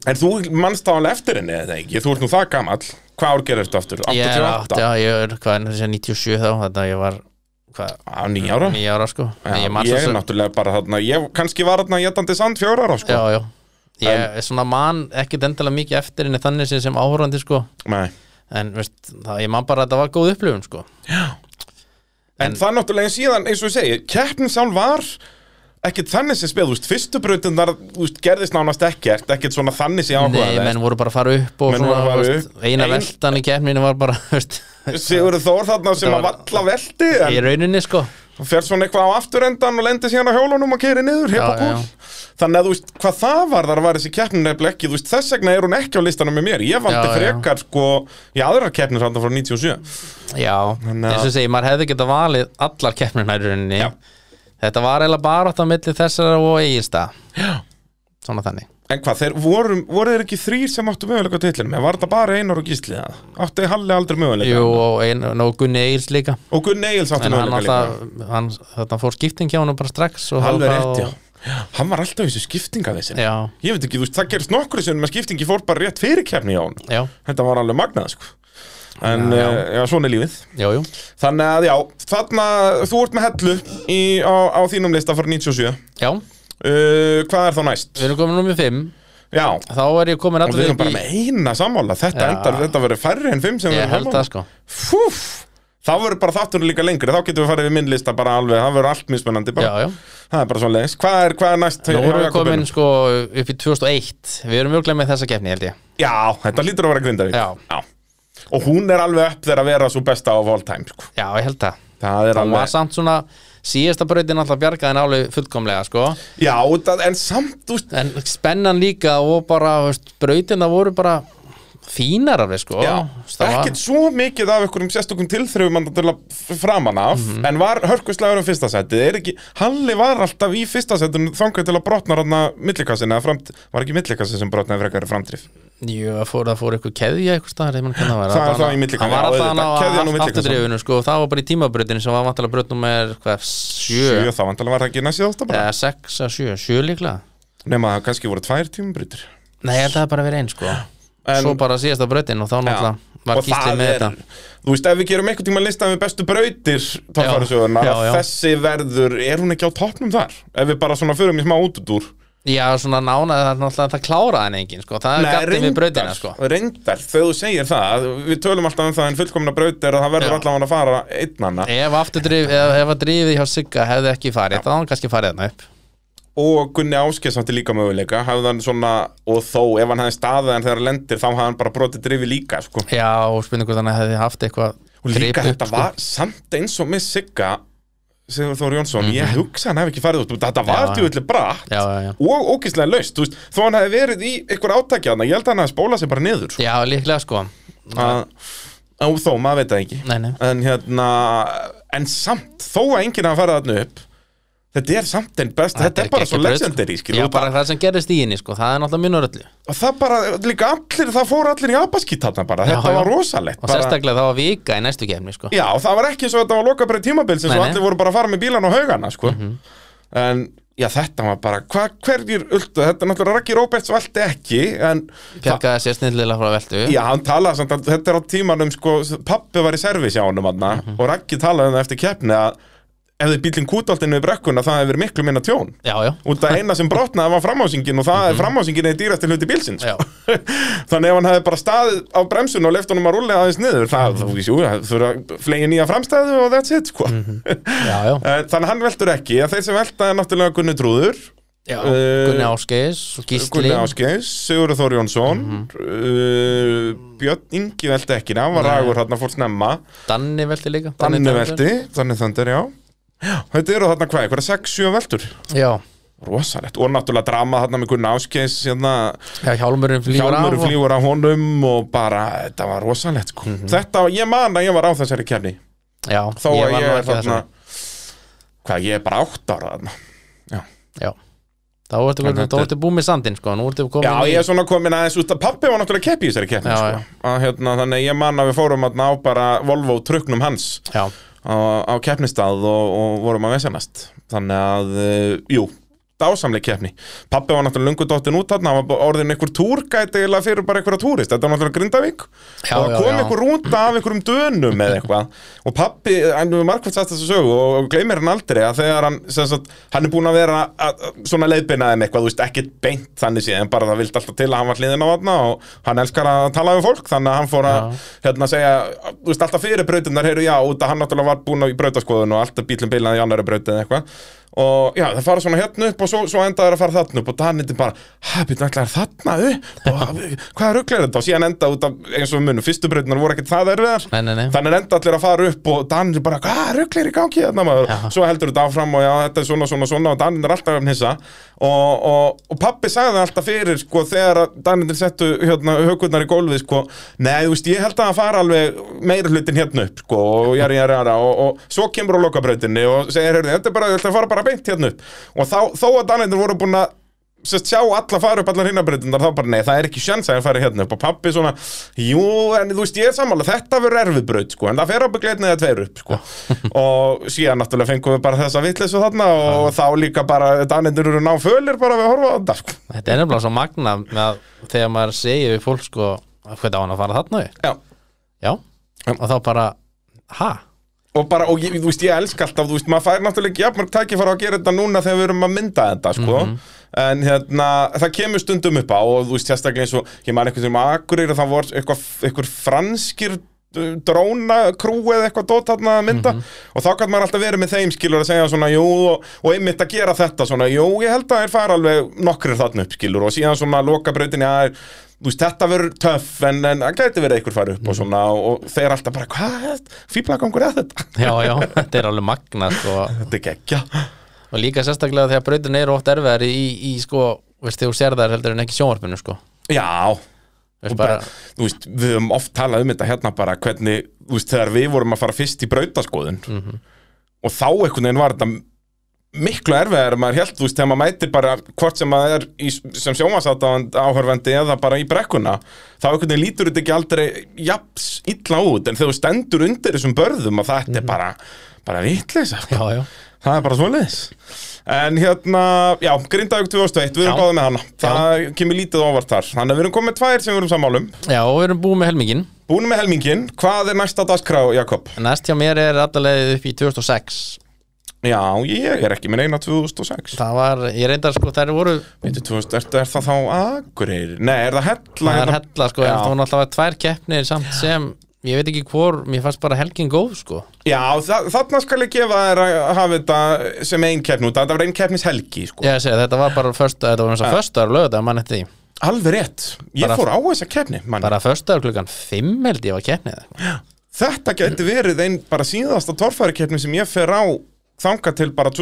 en þú mannst þá alveg eftir henni eða ekki, þú ert nú það gamall hvað ár gerir þetta aftur?
Ég er átt,
88?
já, ég er, hvað er þessi 97 þá, þannig að ég var, hvað,
Á, nýja ára?
nýja ára, sko
Ah. Já,
Ég
ég
man svo
er
sem,
náttúrulega bara þarna, ég kannski var þarna jætandi sand fjórar á sko
já, já Ég er svona man ekkert endalega mikið eftir henni þannig sem, sem áhorandi, sko
Nei.
En, veist, það, ég man bara að þetta var góð upplifun, sko
En, það er náttúrulega síðan, eins og ég segi, keppnin sjálf var ekkert þannig sem spil, þú veist, fyrstu brautin þar, þú veist, gerðist nánast ekkert, ekkert svona þannig sem
Nei,
áhugaði.
menn voru bara að fara upp og
Menn voru að
svona,
fara
veist,
upp.
eina
Ein-
veltan í keppninu var bara, veist
Sigurður Þór þarna sem
Þetta
að
var-
valla veldi,
í rauninni, sko
en fer svona eitthvað á afturendan og lendir síðan á hjólunum og keri niður, hipp og
Já, já.
kúl. Þannig að þú veist, hvað það var þar var þessi keppnin nefnilega ekki, þú veist, þess vegna er hún ekki á listanum með mér. Ég valdi
Já, já.
frekar, sko, í aðrar keppnir þarna frá 97.
Já,
Þannig að-
eins og segi, maður hefði getað valið allar keppnirna í rauninni
Já.
Þetta var eiginlega bara átt á milli þessara og eigilsta
Já.
Svona þannig
En hvað, þeir voru, voru þeir ekki þrýr sem áttu möguleika á titlinum? Eða Var þetta bara einar og gísliða? Áttu Halli aldrei möguleika?
Jú, og, ein, og Gunni Egils líka
Og Gunni Egil's áttu
En hann
möguleika líka?
alltaf, hann, þetta fór skipting hjá hann bara strax og
Alveg
það-
rétt, já Hann var alltaf í þessu skiptingavísin
Já,
Ég veit ekki, þú veist, það gerist nokkru sinnum að skiptingi fór bara rétt fyrir kefni á hann
já,
Þetta var alveg magnað, sko En, já,
Já, já.
já. svona er lífið
já, jú
Þannig að, já, þarna, þú ert með hellu í, á, á þínum lista fyrir 97 uh,
Já,
Hvað er þá næst?
við erum komin nummer 5
Já,
Þá er ég komin
og við
allir
erum bara með eina sammála Þetta
Já.
endar, þetta verður færri en fimm sem við
Ég
erum um.
held það sko
Fúf, þá verður bara þáttunum líka lengri Þá getum við farið við minn lista bara alveg Það verður allt mismunandi
Já,
bara
já
Það er bara svona leins Hvað er, hvað er næst?
Nú
hjá
erum við
Jakobinum?
komin sko upp í 2001 Við erum mjöglega með þessa keppni held ég
Já, þetta lítur að vera Grindavík
Já.
Og hún er alveg upp þegar að vera svo besta á all time sko.
Já, ég held það
Það er
Hún var
alveg
samt svona síðasta brautin alltaf bjargaðin alveg fullkomlega sko
Já, það, en samt úst,
En spennan líka og bara veist, brautina voru bara fínar alveg sko
Já,
Það var-
ekkert svo mikið af einhverjum sérstökum tilþrifum mann til að framan af
Mhm.
En var hörkuslagur um fyrsta setið Er ekki, Halli var alltaf í fyrsta setinu Þangað til að brotna ranna millikassin eða framt, Var ekki millikassin sem brotnaði frekar framdrif
Jú, það fór, það fór eitthvað keðja eitthvað staðar, ég mann hvernig það var
Það er
var
það
hann-
í milli
Hann
kannski,
var
já,
alltaf hann
auðvitað. Keðjan og
á
milli
afturdrifinu sko, og það var bara í tímabröðinu sem var vantilega bröð nummer hvað,
Sjö,
sjö,
þá vandalega var það ekki næst í þáttabra
eða sex að sjö, sjö líklega
Nefn að það kannski voru tvær tímubritur
Nei, ég held að það bara verið einn sko
en,
svo bara síðasta brautin og þá náttúrulega var
og
Gísli
það
með
er,
þetta
þú veist, ef við gerum einhvern tíma listan við bestu brautir
Já,
toppfærasögurnar,
já, já.
þessi verður er hún ekki á toppnum þar, ef við bara svona förum í smá útudúr
já, svona nánaði það náttúrulega það kláraði hann engin sko. það er gattið við brautina sko.
reyndar, þegar þú segir það við tölum alltaf um það en fullkomna brautir og það verður
Já.
allavega að fara einnanna
ef afturdrif, ef, ef að drifið hjá Sigga hefði ekki farið, þá hefði hann kannski farið þarna upp
og Gunni Áskeiðs átti líka möguleika hafði hann svona, og þó, ef hann hefði staðið en þegar hann lendir, þá hafði hann bara brotið drifi líka sko.
já, og spurning hvort hann hefði haft eitthvað
og líka
grip upp, sko.
þetta var samt eins og með Sigga Sigur Þór Jónsson, ég hugsa hann hefði ekki farið út út, þetta var
Mhm. Já, já.
djúvillig bratt
já, já, já
og ógeðslega laust, þú veist, þó hann hefði verið í einhver átaki hann, ég held að hann hefði spólað sér bara niður sko.
Já, líklega sko
að, á þó, maður veit það ekki
Nei, nei
en hérna, en samt þó að enginn hafa farið þarna upp þetta er samt einn best, þetta, er bara
ekki
svo
braut, sko.
legendary, skil,
Já,
og
bara það sem gerist í henni, sko, það er náttúrulega munur öllu
og það bara, líka allir, það fór allir í abaskýt þarna bara, þetta
já.
var rosalegt
Og
bara,
sérstaklega það var vika í næstu kemni, sko
já, og það var ekki eins og þetta var lokabrið tímabilsins
Nei,
og
nei. Mhm.
allir voru bara að fara með bílan og haugana sko. en já, þetta var bara hva, hverjir ultu, þetta er náttúrulega Raggi Róberts valdi ekki, en
Bjargaði sér snillilega frá veltu
já, hann talaði samt að þetta er á tímanum, sko, pappi var í servis hjá honum hann, og Raggi talaði um það eftir keppni að ef þið bílinn kútoltinu við brekkuna, það hefur verið miklu minna tjón
já, já,
út að eina sem brotnaði var framhásingin og það er framhásingin eða dýrasti hluti bílsins
já.
Þannig ef hann hefði bara staðið á bremsun og left honum að rúlega aðeins niður það, þú veist, jú, það þurfa að flegja nýja framstæðu og that's it, sko
já, já.
Eh, Þannig að hann veltur ekki, en þeir sem velta er náttúrulega Gunni Trúður,
já.
Eh,
Gunni Áskeis og Gísli
Gunni Áskeis Sigurður Þór Jónsson
Mhm.
uh, Björn Ingi velti ekki, hann var
Nei.
ragur þarna fór snemma,
Danni velti líka
Danni velti Danni Þöndir, já Já, Þetta eru þarna hvað, eitthvað 6-7 veltur
Já,
Rosalegt, og náttúrulega drama þarna með Gunni Áskeis hérna,
já hjálmurinn flýgur
Hjálmur
af og-
flýgur á honum og bara, þetta var rosalegt sko. Þetta, ég man að ég var á þessari kefni
Já,
þó
Mhm. ég
að
var
ég
nú
er
ekki
þarna
þessu.
hvað, ég er bara átt ára þarna
Já Þá
En
ertu komin-
þetta
þá
er-
ertu búið með sandinn, sko Nú ertu komin
Já,
í-
ég er svona komin aðeins út að pappi var náttúrulega keppi í þessari kefni
Já,
sko. að, hérna, þannig að ég man að við fórum þarna á bara Volvo trukknum hans
Já,
á, á keppnistað og, og vorum að vesenast þannig að, uh, jú dásamleg keppni. Pappi var náttúrulega lungu dottin út þarna, hann var orðin einhver túrgæti eiginlega fyrir bara einhverja túrist, þetta var náttúrulega Grindavík
Já,
og
já,
það kom
já.
einhver rúta af einhverjum dönum eða eitthvað og pappi, hann er markvæmt sagt þessu sögu og, og gleymir hann aldrei að þegar hann sem sagt, hann er búin að vera að, að, svona leiðbinaðin eitthvað, þú veist, ekkit beint þannig séð en bara það vildi alltaf til að hann var hliðin á vatna og hann elskar að tala við fólk þannig að hann fór að hérna segja, þú veist, alltaf fyrir brautinnar heyru já, út að hann náttúrulega var búin í brautaskoðun og alltaf bílum bilaði í annari brauti eða eitthvað og já, það fara svona hérna upp og svo, svo endaður að fara þarna upp og Daniti bara, hæ, byrja, ætlaður þarna upp og hvaða rugl er þetta og síðan enda út af eins og við munum, fyrstu brautnar voru ekkert það erfiðar
nei, nei, nei
þannig er enda allir að fara upp og Danir bara, hvað rugglir í gangi þarna maður
Já.
svo heldur þetta áfram og já, þetta er svona, svona, svona og Danir er alltaf um hissa og, og, og pappi sagði alltaf fyrir, sko, þegar Danir settu hérna, hökurnar í gólfið, sko nei, þú veist, ég held að það fara alveg meira hlutin hérna upp, sko, og jari, jari, jari og, og svo kemur á lokabrautinni og segir, heyrðu, þetta er bara, þetta fara bara beint hérna upp og þá, þó að Danir voru búin að sérst sjá alla fara upp allar hinnabreytundar þá bara nei, það er ekki sjans að hann fara hérna upp og pappi svona, jú, en þú veist ég er sammála þetta verður erfið braut, sko, en það fer ábygglega einn eða tveir upp, sko og síðan náttúrulega fengum við bara þessa vitleysu þarna og þá líka bara, danendur eru ná fölir bara við að horfa á þetta, sko
Þetta er nefnilega svo magna með að þegar maður segir við fólk sko hvernig á hann að fara þarna upp
Já.
Já, og þá bara ha,
og bara, og ég, þú veist, ég elska alltaf, þú veist, maður fær náttúrulega ekki jafnmörg tækifæra að gera þetta núna þegar við erum að mynda þetta, sko en hérna, það kemur stundum upp á og þú veist, sérstaklega eins og, ég man eitthvað sem Akureyri, það voru eitthvað, eitthvað franskir uh, dróna, krú eða eitthvað dót þarna að mynda og þá kann maður alltaf verið með þeim skilur að segja svona, jú, og, og einmitt að gera þetta svona, jú, ég held að þeir fara alveg nokkrir þarna upp skilur og síðan svona loka breytin, já, þú veist, þetta verður töff en, en það gæti verið einhver fara upp og svona og, og þeir alltaf bara, hvað, fýblagangur eða þetta
já, já, þetta er alveg magna sko
Þetta er geggja
og líka sérstaklega þegar brautin eru oft erfiðar í, í sko, veist þegar þú sér þær heldur en ekki í sjónvarpinu sko
Já,
veist,
og bara,
bara,
þú veist, við höfum oft talað um þetta hérna bara hvernig, þú veist, þegar við vorum að fara fyrst í brautaskoðun og þá einhvern veginn var þetta miklu erfiðar maður held, þú veist, þegar maður mætir bara hvort sem maður er í, sem sjómasátt áhörfendi eða bara í brekkuna þá einhvern veginn lítur þetta ekki aldrei jafs illa út, en þegar þú stendur undir þessum börðum að þetta er bara bara vitleisa,
já, já,
það er bara svoleiðis En hérna, já, Grindavík 2001, við erum
Já.
báðið með hana Það kemur lítið óvart þar Þannig að við erum komið með tvær sem við erum sammálum
Já, og við erum búið með helmingin
Búin með helmingin, hvað er næsta dagskrá, Jakob?
Næst hjá mér er allalegið upp í 2006
Já, ég er ekki með neina 2006
Það var, ég reyndar sko, þær voru
Veitir, 2000, er, er það þá Akureyri? Nei, er það hella?
Það er
hérna?
hella sko,
Já.
en það var náttúrulega tvær keppnir samt sem Ég veit ekki hvor, mér fannst bara helgin góð sko
Já, þa þarna skal ég gefa þér að hafa þetta sem ein keppn út Þetta var ein keppnis helgi, sko
Ég að segja, þetta var bara första, þetta var eins og förstaðar lögða, mann eftir því
Alveg rétt, ég
Bara-
fór á þessa keppni mann.
Bara förstaðar klukkan 5 held ég var keppnið eða eitthvað.
Þetta gæti verið ein bara síðasta torfæri keppni sem ég fer á þanga til bara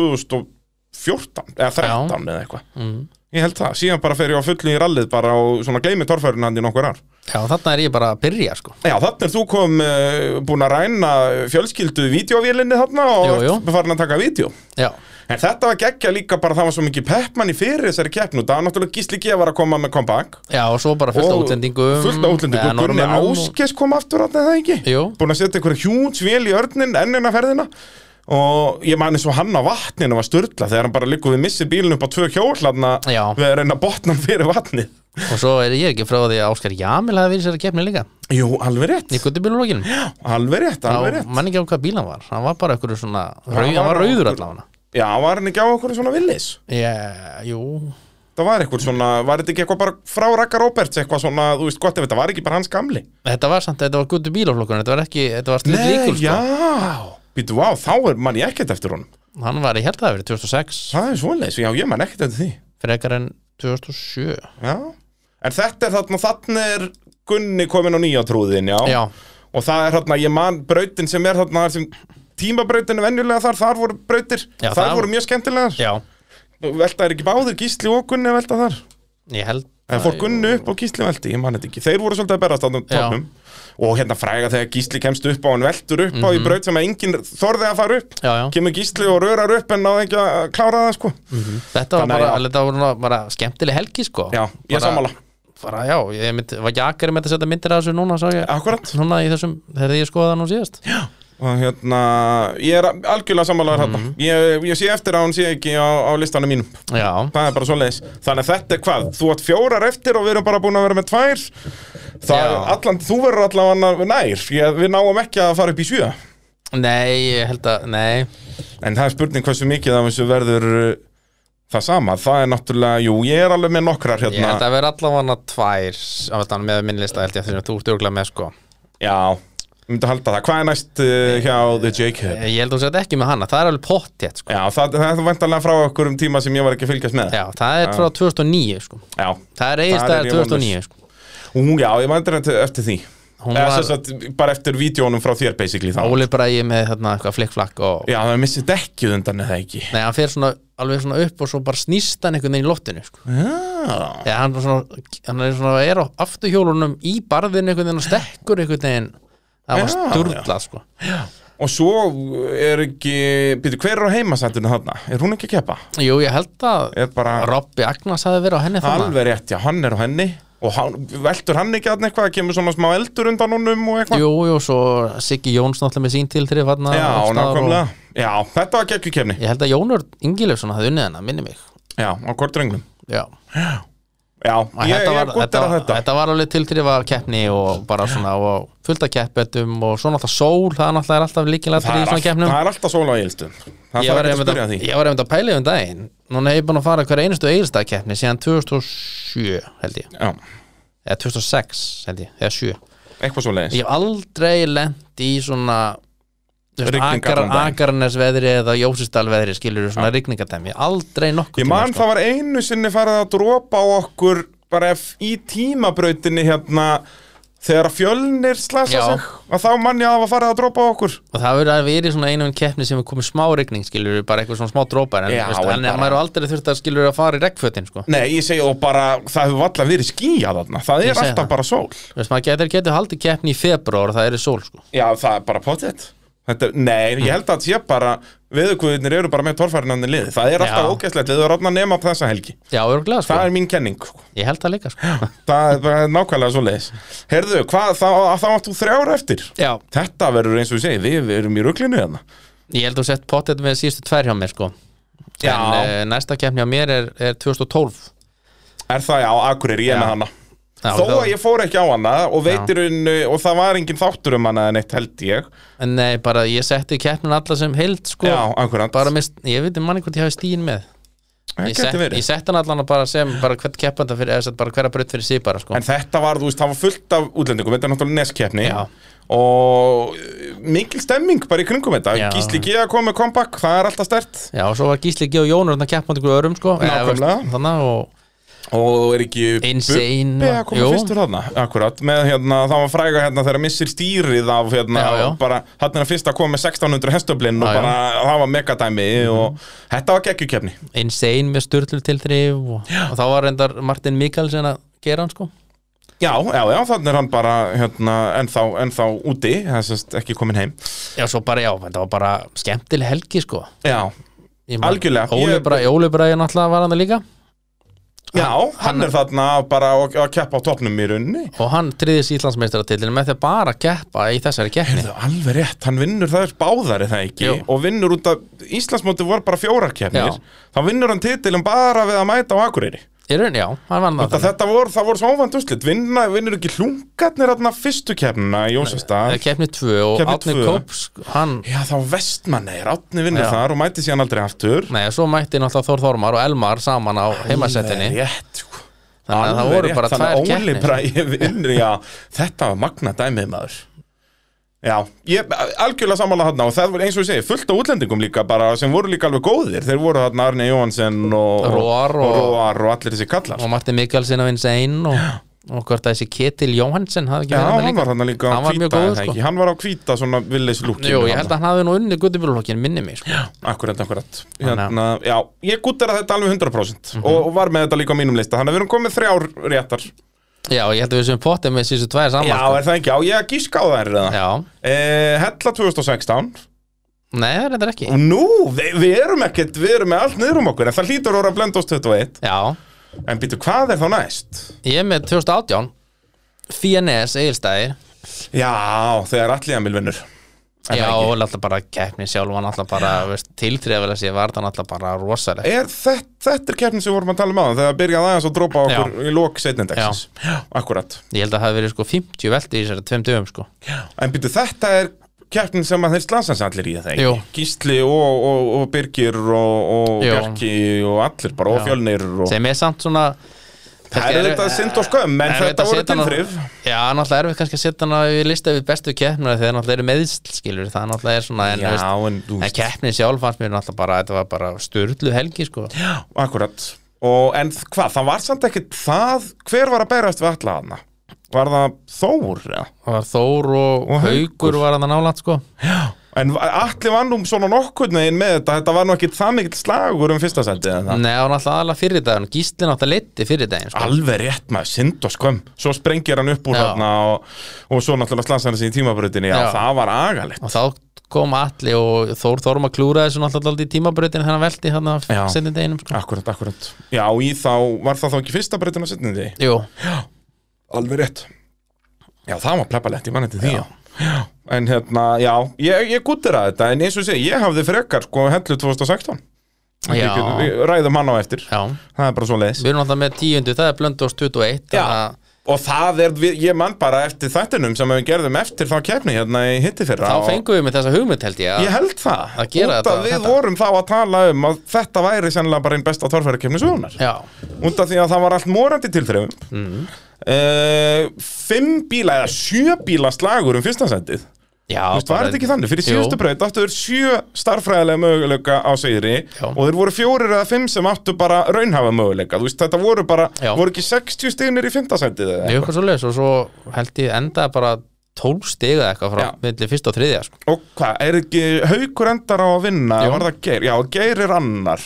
2014 eða 13 eða eitthvað Ég held það, síðan bara fer ég á fullu í rallið bara og svona gleymi torfærinu hann í nokkur ár
Já, þarna er ég bara að byrja sko
Já, þarna er þú kom uh, búin að ræna fjölskyldu vídeovélinni þarna og
Jú, jú.
ert farin að taka vídeo
Já,
En þetta var geggja líka bara það var svo mikið peppmann í fyrir þessari keppnu Það var náttúrulega Gísli G var að koma með comeback
já og svo bara fullt af
Og
útlendingum
Fullt af útlendingum,
eða
Gunni
Norðmönnum og-
Áskes kom aftur að það ekki
Jú,
búin að setja einhverja hjúns vél í örnin ennina ferðina og ég man eins og hann á vatninu var störla þegar hann bara liggur við missi bílinn upp á tvö hjól hann að
Já.
við að reyna botnan fyrir vatni
og svo er ég ekki frá því að Áskar Jamil hafi verið sér að keppni líka
Jú, alveg rétt,
Í guttubílulokinum
alveg rétt, alveg rétt
Man ekki á hvað bíl hann var, hann var bara einhverju svona rau,
var
Hann var
á
rauður
einhver-
allavega
Já, var hann ekki á okkur svona villis
Já, jú,
Það var eitthvað svona, var þetta ekki eitthvað bara frá Raka Roberts eitthvað svona, þú veist gott ef þetta var ekki bara hans gamli
Þetta var samt, þetta var guttu bílaflokkurinn, þetta var ekki, þetta var slið líkul sko.
já Býtu, vá, þá er mann ég ekkert eftir honum
Hann var, ég held að það hafi verið 2006
Það er svoleiðis, já, ég man ekkert eftir því
frekar en 2007
Já, en þetta er þarna, þarna er Gunni komin á nýja trúðin, já
Já,
og það er hérna, ég man brautin sem er hérna, sem tímabrautin er venjulega þar, þar voru brautir,
Já,
þar
það-
voru mjög skemmtilegar
já,
velta er ekki báðir, Gísli og Gunni velta þar
ég held
en fór Gunni upp og Gísli velti, ég man þetta ekki þeir voru svolítið að berast þarna á
Já.
topnum og hérna fræga þegar Gísli kemst upp á hann veltur upp á í braut sem að enginn þorði að fara upp
Já, Mhm. já, Mm.
kemur Gísli og rörar upp en náði ekki að klára það sko
þetta var
Þannig að
bara,
já.
þetta var bara, bara skemmtileg helgi sko
já, ég
Bara-
sammála,
bara, Já, ég mynd, var ekki akkar með að setja myndir af þessu núna, sá ég
akkurat
Núna í þessum, þegar ég skoða það nú síðast
og hérna, ég er algjörlega sammálaður mm
Mhm.
ég, ég sé eftir að hún sé ekki á, á listanum mínum
Já,
Það er bara svoleiðis Þannig að þetta er hvað, þú átt fjórar eftir og við erum bara búin að vera með tvær Það er
Já.
allan, þú verður allan að nær ég, Við náum ekki að fara upp í sjö
nei, ég held að, nei
En það er spurning hversu mikið af þessu verður uh, það sama Það er náttúrulega, jú, ég er alveg með nokkrar
Ég held
hérna
að vera allavega tvær allan með minnlista held ég þegar þú stjórglega með sko
Já, ég myndi að halda það Hvað er næst uh, hjá The Jacob?
Ég held að þú sett ekki með hana, það er alveg pottjætt sko
Já, það, það er vantanlega frá okkur um tíma sem ég var ekki að fylgjast með
Já, það er frá 2009 sko
Já,
Það er
Þar er
eiginstæðar
ég
2009 sko
ú, já ég vandur eftir því
Hún
Eða,
var
var... að, Bara eftir vídjónum frá þér, basically þá.
Óli Bræði með þarna eitthvað flikkflakk og
Já, það er missið dekkið undan eða ekki
Nei, hann fer svona alveg svona upp og svo bara snýst hann einhvern veginn í lottinu sko
Já
Þegar hann, er svona, hann er svona er á afturhjólunum í barðinu einhvern veginn og stekkur einhvern veginn Það var
Já,
sturlað sko
Og svo er ekki, býtu, hver er á heimasættinu þarna? Er hún ekki að keppa?
Jú, ég held að
Er bara
Robby Agnars hafi verið á henni þannig
alveg rétt, já, hann er á henni Og hann, veltur hann ekki að eitthvað, kemur svona smá eldur undan honum og eitthvað?
Jú, jú, svo Siggi Jóns náttúrulega með sín til þrif þarna
já,
alls staðar
nákvæmlega Já, þetta var geggjukefni
Ég held að Jónur Ingiljöfsson hafði unnið hennar, minni mig
Já, á hvort renglum
Já,
Já,
Að
ég,
þetta
ég
var,
er gott
þetta,
er að þetta
þetta var alveg tilþrifa keppni og bara svona og fullt af keppetum og svo náttúrulega sól, það er náttúrulega er alltaf líkilega
Það er,
í svona
allt,
keppnum
það er alltaf sóla á eilstum Það
ég
þarf
var
ekki að
einmitt
spyrja
að-
því
ég var einmitt að pæla í um daginn núna hef ég búin að fara hverja einustu eiginstæð keppni síðan 2007 held ég
Já,
eða 2006 held ég, eða 7
eitthvað svo leiðis
ég hef aldrei lent í svona þú veist,
Rigning
Akar,
allan um daginn.
Akarnes veðri eða Jósistal veðri skilur svona ja. rigningatæmi, aldrei sko. nokkuð
Ég man það var einu sinni farið að dropa á okkur bara ef í tímabrautinni hérna þegar að fjölnir slasa
Já.
sig að þá man ég að það var farið að dropa á okkur
og það verður að verið svona einu en keppni sem er komið smá rigning skilur bara eitthvað svona smá drópar en,
Já,
veist,
en
en
bara-
maður er aldrei þurft að skilur að fara í regnfötin sko.
Nei, ég segi og bara það hefur alltaf verið skýjað þarna það
Ég
er
segi
alltaf
það.
bara sól
veist, maður getur, getur haldið keppni í februar og það er sól sko.
Já, það er bara potið Þetta, nei, ég held að það sé bara viðurkvöðunir eru bara með torfærinandi liði það er alltaf
Já.
ógæslegt við erum að nema upp þessa helgi
já, örgulega sko.
það er mín kenning sko.
ég held það líka sko.
það er bara nákvæmlega svo leiðis Herðu, hvað, þá, þá áttu þrjára eftir
já,
Þetta verður eins og ég segi, við, við erum í ruglinu hérna
ég held þú sett pottet með síðustu tvær hjá mér sko.
Já.
en uh, næsta keppni á mér er, er 2012
Er það já, Akureyri, ég er
Já.
með hana
Já,
Þó
þá-
að ég fór ekki á hana og veitirun og það var engin þáttur um hana en eitt held ég
en nei, bara ég setti keppnin alla sem heild sko,
Já, akkurat
bara mist, ég veit um manni hvort ég hafi stíin með
Það
ég
gæti
sett,
verið.
ég sett hann allan bara sem bara hvert keppanda fyrir, eða sett bara hverja braut fyrir sig bara sko.
En þetta var, þú veist, það var fullt af útlendingum Þetta er náttúrulega neskeppni
Já.
Og eh, mikil stemming bara í kringum þetta
Já.
Gísli G að koma með comeback, það er alltaf stert
já, og svo var Gísli G og Jónur þarna keppandi ykkur örum sko, eða, veist,
Nákvæmlega.
þannig og
Og er ekki
Insane
Bubbi að koma
Jú.
fyrstur þarna Akkurat, með hérna, það var fræga hérna þegar missir stýrið af hérna
Já, já.
og bara, Hann er að fyrst að koma með 1600 hestöflin og
Já, Mhm. já.
bara, það var megadæmi og þetta var geggjukefni
insane með styrlu tilþrif og, og þá var reyndar Martin Mikkelsen að gera hann sko.
Já, já, já, þannig er hann bara hérna, ennþá, ennþá úti, það sést ekki komin heim
já, svo bara, já, þetta var bara skemmtileg helgi sko.
Já,
Ég man-
Algjörlega.
Óli
Ég-
Bræði, Óli Bræði náttúrulega var hann líka
já hann, er þarna bara að, að keppa á topnum í rauninni
og hann triðis Íslandsmeistaratitlinu með því að bara keppa í þessari keppni
Það er alveg rétt, hann vinnur það er báðari það ekki
Jú.
og vinnur út af Íslandsmóti voru bara fjórarkefnir
Já.
þá vinnur hann titilum bara við að mæta á Akureyri
í raun, já, hann vann
það,
það
þetta voru, það voru svo óvænt úrslit Vinna, vinnur ekki hlungarnir hann fyrstu kefnina í Jósastad
keppni 2 og
Keppni
Átni
tvö.
Kóps hann,
Já þá vestmanni er átni vinnur
Já.
þar og mæti síðan aldrei aftur
nei, svo mætti náttúrulega Þór Þormar og Elmar saman á heimasettinni
Alveg rétt sko.
þannig að það
Alveg
voru
rétt,
bara
þannig
tvær
að Óli
keppni
Bragi vinnur, já, þetta var magna dæmið maður Já, ég algjörlega sammála þarna og það var eins og ég segi, fullt á útlendingum líka bara sem voru líka alveg góðir, þeir voru þarna Arne Jóhansen og
Roar
og,
og-
Roar og allir þessi kallar
og Martin Mikkelsen á Insane og, og hvort að þessi Ketil Jóhansen hafði ekki
Já,
verið með
hann
líka
var þarna líka á
Hann var mjög
hvíta, en
góður, sko.
ekki, hann var á hvíta svona villis lúkinu
Jú, ég held að hann hafði nú unni guttibjörnflokkin minni mig sko.
Akkurat, akkurat
Þannig að- Mhm.
hérna, Já, ég gúttir að þetta alveg 100% og, og var með þetta líka á mínum lista, þannig að við erum komið þrjár réttar
Já, ég held að við sem pottið með síðustu
Já,
tvær saman sko.
er það ekki, já, ég gíska á þær eða
Já,
Eh, Hella 2016
nei, það er þetta ekki
Og nú, við, við erum ekkert, við erum með allt niður um okkur En það hlýtur að vera Blendós 21
Já,
En býtu, hvað er þá næst?
Ég er með 2018 FNS Egilstæðir
Já, þegar allir Emil vinnur Er það
Já,
ekki?
og alltaf bara keppni sjálf hann alltaf bara, veist, tilþrefala sér var það alltaf bara rosaleg
Er þetta, þetta er keppnin sem við vorum að tala um aðan Þegar byrjaði aðeins að dropa okkur í lók setnindagsins Akkurat
Ég held að það hafi verið sko 50 velti í þessari tveim dögum sko
En býtu, þetta er keppnin sem að þeir slansans allir í það
Jú.
ekki Gísli og, og, og Birgir og, og
Jú.
Bjarki og allir bara Og
Já.
fjölnir og
sem er samt svona
Sko. Það er þetta synd og skömm En
erfitt
þetta
að
voru
setja hana-
tilþrif
Já, náttúrulega erum við kannski að setja hana við lista við bestu keppnir þegar náttúrulega eru meðsl skilur það náttúrulega er svona en,
Já,
veist,
en þú
en keppni sjálf fannst mér náttúrulega bara þetta var bara störlu helgi sko
Akkurat og, En þ- hvað, það var samt ekkit það Hver var að berast við alla hana? Var það Þór? eða?
Það var Þór og,
Og Haukur.
Haukur var að það nálat sko
En allir var nú svona nokkurn veginn með þetta Þetta var nú ekkit það mikill slagur um fyrsta sendi eða það
Nei, það var náttúrulega aðalega fyrir daginn Gísli náttúrulega leiti fyrir daginn sko.
Alveg rétt maður, synd og skömm Svo sprengir hann upp úr
Já.
þarna og, og svo náttúrulega slansa hann sig í tímabröðinni Já,
Já.
það var agalegt
og þá kom allir og Þór Þorma klúraði þessu náttúrulega alltaf í tímabrautin þannig að velti þannig
Já.
að setjum deginum sko.
Akkurat, akkurat Já, í þá, var það þá ekki fyrsta bröðin á setnindi?
Jú,
Alveg rétt Já, það var plebbalegt, ég man þetta því já. Já, En hérna, já, ég, ég gúttir að þetta En eins og sé, ég hafði frekar sko hellu 2016 En
Já.
Við getum- við ræðum hann á eftir
já,
Það er bara svo leiðis
við erum alltaf með tíundu það er Blöndós
Já.
21 þannig að
Og það er, við- ég man bara eftir þættinum sem við gerðum eftir þá kefni hérna í hitti fyrra
þá
og-
fengum við með þessa hugmynd held ég,
Ég
að
held það,
Að gera
út að
þetta-
við
þetta.
vorum þá að tala um að þetta væri sennilega bara einn besta torfærakefni sögunar
já,
Út af því að það var allt morandi tilþrefum mm. Fimm bíla eða sjö bíla slagur um fyrsta sendið
já
Þú veist, var
bara-
þetta ekki þannig? Fyrir
Jú.
síðustu braut áttu þeir sjö starffræðilega möguleika á sigri
Já.
og þeir voru fjórir eða fimm sem áttu bara raunhafa möguleika. Þú veist, þetta voru bara,
Já.
voru ekki 60 stignir í fymtasændið eða
Mjög
eitthvað.
eitthvað svo og svo held ég enda bara 12 stiga eitthvað frá
Já.
milli fyrst og þriðja sko.
Og hvað, er ekki haukur endar á að vinna?
Jú.
Var það geir? Já, geir er annar.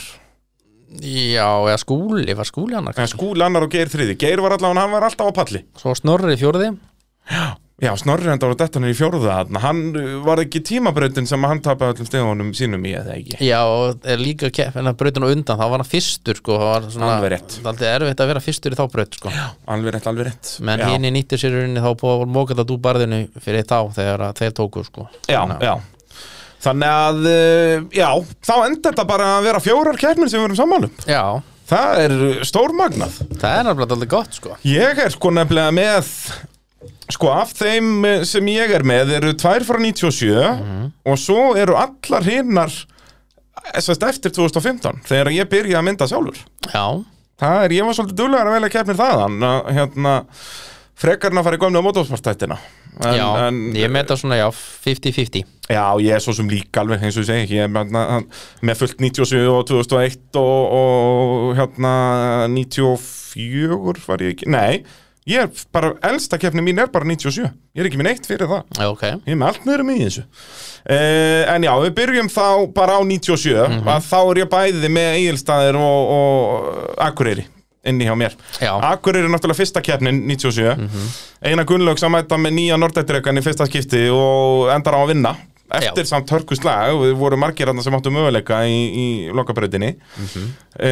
Já, eða skúli, var skúli hann
En skúli annar og geir þriði. Geir var allavega, hann var alltaf á palli.
sko. Svo snorri fjórði
Já, Snorri endar á dettanir í fjóruða þarna. Hann uh, var ekki tímabrautin sem hann tapaði öllum stegunum sínum í eða ekki.
Já, og er líka keppin að brautin og undan þá var hann fyrstur sko, það var svona
Alveg rétt.
Aldrei erfitt að vera fyrstur í þá braut sko.
Alveg rétt, alveg rétt.
menn
Já.
hinn nýttir sér í rauninni þá búið að móka þetta úr barðinu fyrir þá þegar að þeir tóku sko.
Já,
Þannig að-
já Þannig að, eh, já, þá enda þetta bara að vera fjórar keppnir sem við erum sammálum.
Já,
Það er uh, stórmagnað.
það er alveg alltaf gott sko
Ég er sko nefnilega með, sko af þeim eh, sem ég er með eru tvær frá 97 og svo eru allar hinnar eh, sem sagt, eftir 2015 þegar ég byrja að mynda sjálfur.
Já,
Það er, ég var svolítið duglegar að velja keppnir þaðan að hérna frekarna fara í gömlu á motorsportættina en,
já,
en,
ég met það svona já, 50-50
já, ég er svo sem líka alveg eins og ég segi, ég er með, með fullt 97 og 2001 og, og hérna 94 var ég ekki, nei ég er bara, elsta keppni mín er bara 97 ég er ekki minn eitt fyrir það
Já, Ok,
Ég er með allt meður um í þessu uh, En já, við byrjum þá bara á 97 að Þá er ég bæði með Egilstaðir og, og Akureyri inni hjá mér
Já.
Akureyri er náttúrulega fyrsta keppnin 97 mm -hmm. Einar Gunnlaugs að mæta með nýja Nordættirekan í fyrsta skipti og endar á að vinna Eftir samt hörkuslag, við voru margir þarna sem áttu möguleika í, í lokabrautinni mm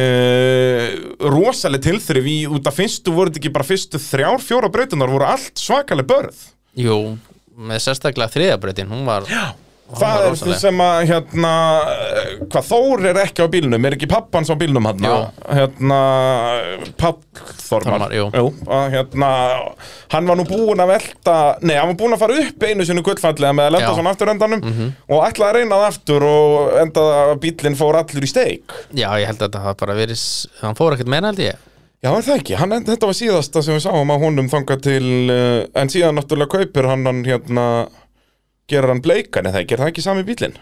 Rosaleg tilþrif í út af fyrstu voru þetta ekki bara fyrstu þrjár, fjóra brautinar voru allt svakaleg börð
jú, með sérstaklega þriðabreytin, hún var Já,
Það er það sem að, hérna, eh, hvað Þór er ekki á bílnum, er ekki pappans á bílnum hann? Hérna, Pall Þormar,
Þormar, jú.
að, hérna, hann var nú búinn að velta, nei, hann var búinn að fara upp einu sinni gullfallega með að lenda
Já. Mhm.
svona aftur endanum og ætlaði að reyna það aftur og endaði að bílinn fór allur í steik.
Já, ég held að þetta hafa bara verið s- Hann fór ekkert meina held ég
Já, er það ekki? Hann, þetta var síðasta sem við sáum að honum þangað til, uh, en síðan náttúrulega kaupir hann, hann hérna, gerir hann bleikan eða ekki, er það ekki sami bílinn?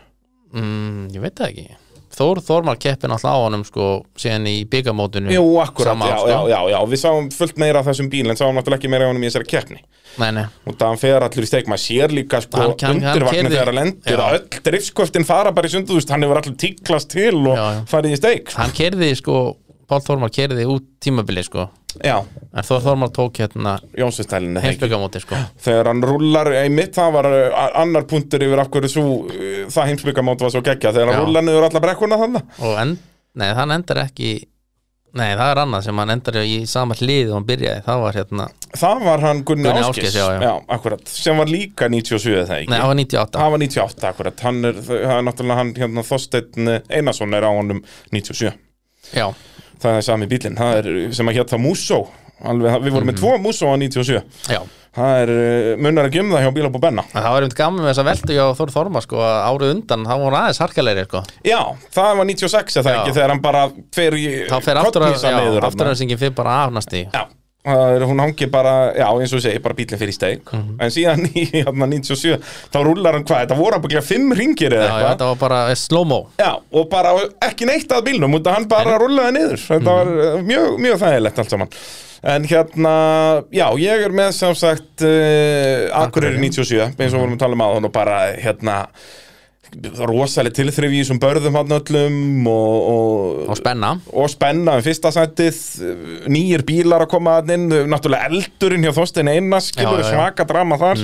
mm, Ég veit það ekki Þór Þormar keppin alltaf á honum sko síðan í byggamótinu
Jú, akkurat,
Sama ár,
já,
sko.
já, já, já, við sáum fullt meira af þessum bíl en sáum náttúrulega ekki meira af honum í þessari keppni
Nei, nei,
og það hann fer allur í steik, maður sér líka sko
Hann kann- hann
undirvagnin
keyrði-
þegar hann lendir
Já.
að öll driftskortin fara bara í sundu, þú veist, hann hefur allur tíklast til og
Já, já.
farið í steik
hann kerði sko Pál Þormar kerði út tímabili sko
Já,
En Þór Þormar tók hérna
Jónsustælinni
heimsbyggamóti sko
þegar hann rullar einmitt, það var uh, annar punktur yfir af hverju svo, uh, það heimsbyggamót var svo geggja, þegar hann
Já.
rullar niður alla brekkuna þannig
Og en, nei, hann endar ekki Nei, það er annað sem hann endar í sama hlið og hann byrjaði, það var hérna
Það var hann Gunni,
Gunni
Ásgeis,
Ásgeirs, já, já.
akkurat, sem var líka 97 eða ekki
Nei, það var 98
Það var 98 akkurat, hann er, það er náttúrulega hann hérna Þorsteinn Einarsson er á honum 97,
Já,
það er sami bílinn, það er sem að hérna Musó, alveg, við
Mhm.
vorum með tvo Musó á 97,
já
það er uh, munar að gemða hjá Bílab og Benna.
En Það var einmitt gaman með þess að velta hjá Þór Þormar sko að árið undan, þá voru aðeins harkalegri sko
Já, það var 96 eða
Já.
ekki þegar hann bara fer í
Þá fer aftur að,
kollhnísa
já,
niður
aftur
þarna.
að syngin fyrir bara afnast í
Já, það er, hún hangi bara, já eins og ég segi, bara bílinn fyrir í steik,
Mhm.
en síðan í hérna 97, þá rúlar hann hvað, þetta voru ábygglega fimm ringir eða
Já, já, þetta var bara eh, slow-mo
Já, og bara ekki neitt að bílnum út að hann bara rúlaði niður þetta var uh, mjög, mjög þægilegt allt saman en hérna, já, ég er með sem sagt uh, Akureyri 97, eins og vorum að tala um aðan og bara hérna rosaleg tilþrif í þessum börðum hann öllum og, og,
og spenna
og spenna um fyrsta sætið uh, nýjir bílar að koma að inn uh, náttúrulega eldurinn hjá Þorstein Einars skilur
Já, Mhm. já, já.
svaka drama þar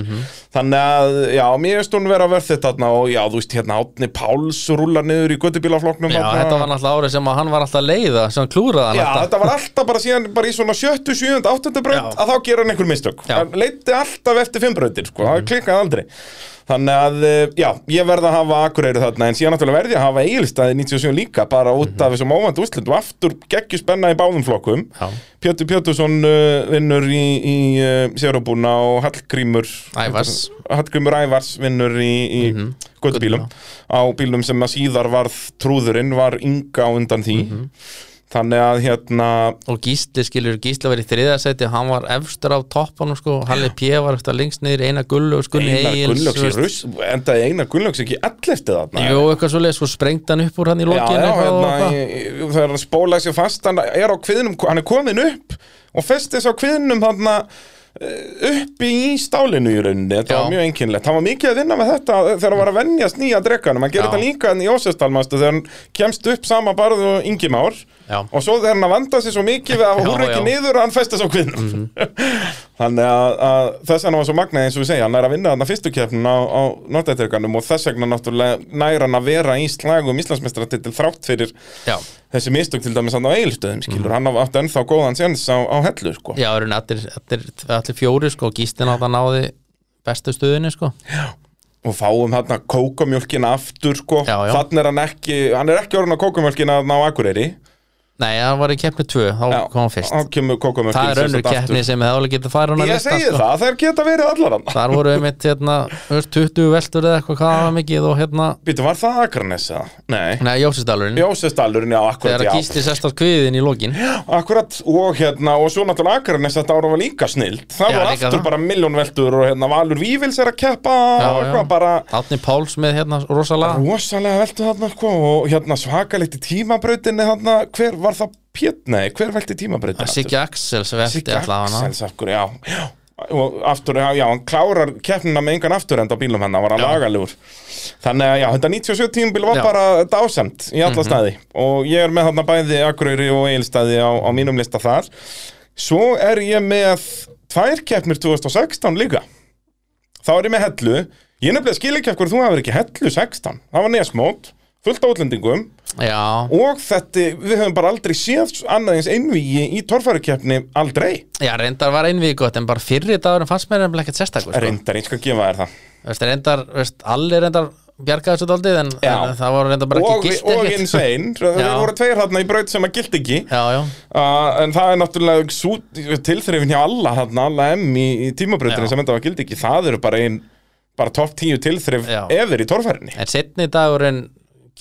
þannig að, já, mér finnst hún vera verð þetta þarna og já, þú veist, hérna Átni Páls rúlar niður í göttubílaflokknum
Já, þetta var náttúrulega árið sem að hann var alltaf að leiða sem hann klúraði hann
Já,
alltaf
þetta var alltaf bara síðan bara í svona sjöttu, sjöund, áttundu braut
Já.
að þá gera hann einhver mistök
Já. Mhm.
hann leiti alltaf eftir fimm brautir, sko, það klikkaði aldrei þannig að, eh, já, ég verð að hafa akureyri þarna, en síðan náttúrulega verði að hafa eigilstaði 97 líka, bara út af þessum óvænt úrslit og aftur geggjur spenna í báðum flokkum
Mhm. Já.
Pjötu Pjötusson uh, vinnur í, í uh, Sérubúna og Hallgrímur
Ævars.
Hallgrímur Ævars vinnur í, í mm
Mhm.
á bílum sem að síðar varð trúðurinn var ynga á undan því
Mhm.
þannig að hérna
og Gísli skilur, Gísli var í þriðasæti hann var efstur á toppanum sko Halli P var eftir lengst niður, Einar Gullug Gunni
Einar
Egils
Gunnlaugs í
þú veist.
russ endaði Einar Gunnlaugs ekki ellefti þarna
Jú, eitthvað svo leið, svo sprengt hann upp úr hann í
Já,
lokinu
já,
eitthvað og
hérna,
eitthvað.
í- í- þegar hann spólaði sér fast hann er á kviðnum, hann er komin upp og festið sér á kviðnum þarna eh, uppi í stálinu í rauninni þetta
Já.
var mjög einkennlegt, hann var mikið að vinna með þetta þegar hann var að venjast nýja drekanum hann gerir
Já.
þetta líka enn í Ósestalmastu þegar hann kemst upp sama barð og yngi már
Já.
og svo þegar hann að vanda sér svo mikið við að
Já,
húra
já. Mhm.
ekki niður að hann festið sér á kviðnum þannig að, að þess vegna var svo magnað eins og við segja hann er að vinna þarna fyrstu keppnum á, á Nordættirganum og þess vegna náttúrulega nær hann að vera í slagum Íslandsmeistaratitil þrátt fyrir
Já,
þessi mistök til dæmis hann á eigilstöðum skilur, hann átti ennþá góðan séns á, á hellu sko.
Mhm. já, eru allir, allir, allir fjóri sko, Gísli nátt að náði bestu stöðinni sko
og fáum þarna kókamjólkina aftur sko,
Já, já.
þannig er hann ekki hann er ekki orðin á kókamjólkina þarna á Akureyri
Nei, hann var í keppni 2, þá
Já,
kom hann fyrst
þá kemur kókamjólkin
Það er önnur keppni sem hefði alveg getið að fara hann að
ég
lista sko.
segi það, þær geta verið allar hann
Þar voru einmitt hérna, þú veist, 20 veltur eða eitthvað hvað það var mikið og hérna
býtum, var það Akranes eða? nei,
Nei, Jósisdalurinn,
Jósestallurinn, já, akkurat
þegar að
já.
gísli sest á kviðin í lokin
Akkurat, og hérna, og svo náttúrulega Akranes þetta ára var líka snild það
Já,
var
líka
aftur
það.
bara milljónveldur og hérna Valur Vífils er að keppa
Já,
og
já.
eitthvað bara
Átni Páls með hérna rosalega
rosalega veldu þarna sko og hérna svakalegt í tímabrautinni þarna hver var það pjött, nei, hver veldi tímabrautinni aftur?
Siggi Axels vefti
Siggi
allavega hana
Axels af hverju, sko, já, já og aftur, já, já, hann klárar keppnina með engan aftur enda á bílum hann, hann var að lagalugur þannig að já, þetta 97 tímubil var
Já. Mhm.
bara dásamt í alla staði og ég er með þarna bæði Akureyri og Egilstaði á, á mínum lista þar svo er ég með tvær keppnir 2016 líka þá er ég með hellu ég nefnilega skil ekki af hverju þú hefur ekki hellu 16 það var nesmót, fullt á útlendingum
Já,
og þetta, við höfum bara aldrei séð annað eins einvígi í torfærukeppni aldrei
já, reyndar var einvið gott en bara fyrri dagurinn fannst mér nefnilega ekkert sérstakur sko.
Reyndar, ég skal gefa þér það
Veist, reyndar, veist, allir reyndar bjargaði þessu daldið en,
Já.
en það var reyndar bara
Og,
ekki gilt
og insane, það
Já.
voru tveir hérna í braut sem að gilt ekki
Já, já,
uh, En það er náttúrulega sú, tilþrifin hjá alla hérna, alla M í, í tímabrautinu
Já.
sem þetta var gilt ekki Það eru bara ein, bara topp tíu tilþrif
Já.
eður í torfærinni
en setni dagurinn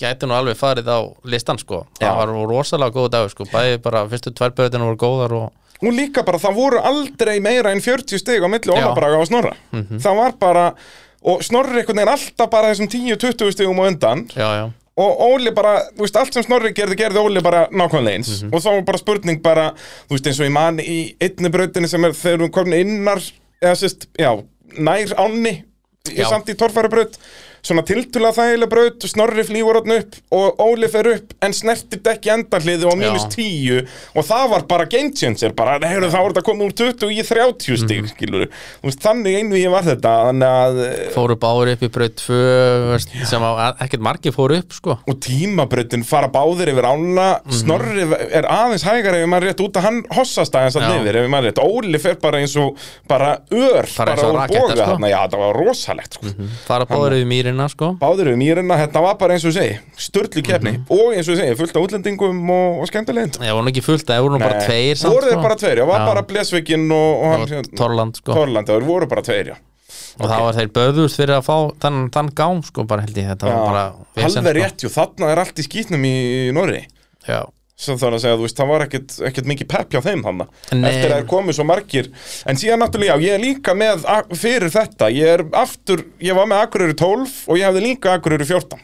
gæti nú alveg farið á listan sko
Já.
það var rosalega góð dagur sko bæði bara fyrstu tværbröðinu voru góðar og
Og líka bara, það voru aldrei meira en 40 stig á milli
Já. Mhm.
Ólabraga og Snorra Það var bara, og Snorri einhvern veginn alltaf bara þessum 10-20 stigum á undan
já, já,
og Óli bara, þú veist, allt sem Snorri gerði gerði Óli bara nákvæmlega eins og þá var bara spurning bara, þú veist, eins og ég man í einni brautinni sem er þegar hún komin innar, eða sérst, já nær ánni, í-
Já.
samt í torfærubraut svona tiltula þægileg braut Snorri flýgur hann upp og Óli fer upp en snertir dekki endarliðu á mínus 10 og það var bara game changer bara, heyrðu, það voru þetta komið úr 20 í 30 stig, mm -hmm. skilur veist, þannig einu ég var þetta, þannig að
fóru báður upp í bröð 2 veist, sem á, ekkert margir fóru upp sko
og tímabrautin fara báðir yfir ána
Mhm.
Snorri er aðeins hægari ef maður rétt út að hann hossast aðeins að
Já.
nefir ef maður rétt, Óli fer bara eins og bara ör,
Bara eins og
úr
raketta, sko. Mhm.
þarna, já það var rosalegt sko.
fara báður yfir mýrina sko
báðir yfir mýrina, þetta var bara eins og ég segi
Mhm.
störlu keppni og eins og ég segi fullt af útlendingum og, og skemmtilegnd
það voru nú ekki fullt, það voru nú bara tveir samt,
voru þeir
sko.
bara tveir, já, var
Já.
bara Blesvikin og, og hann,
og Torland sko
Torland, það voru bara tveir, já
og það var þeir böðust fyrir að fá þann, þann gám sko bara held ég þetta var bara vesen,
halver rétt, jú, þarna er allt í skýtnum í, í Norri
sko. já
sem þannig að segja, þú veist, það var ekkert, ekkert mikið pepp hjá þeim hann
Nei.
eftir að þeir komu svo margir en síðan náttúrulega, já, ég er líka með a- fyrir þetta, ég er aftur ég var með Akureyri 12 og ég hefði líka Akureyri 14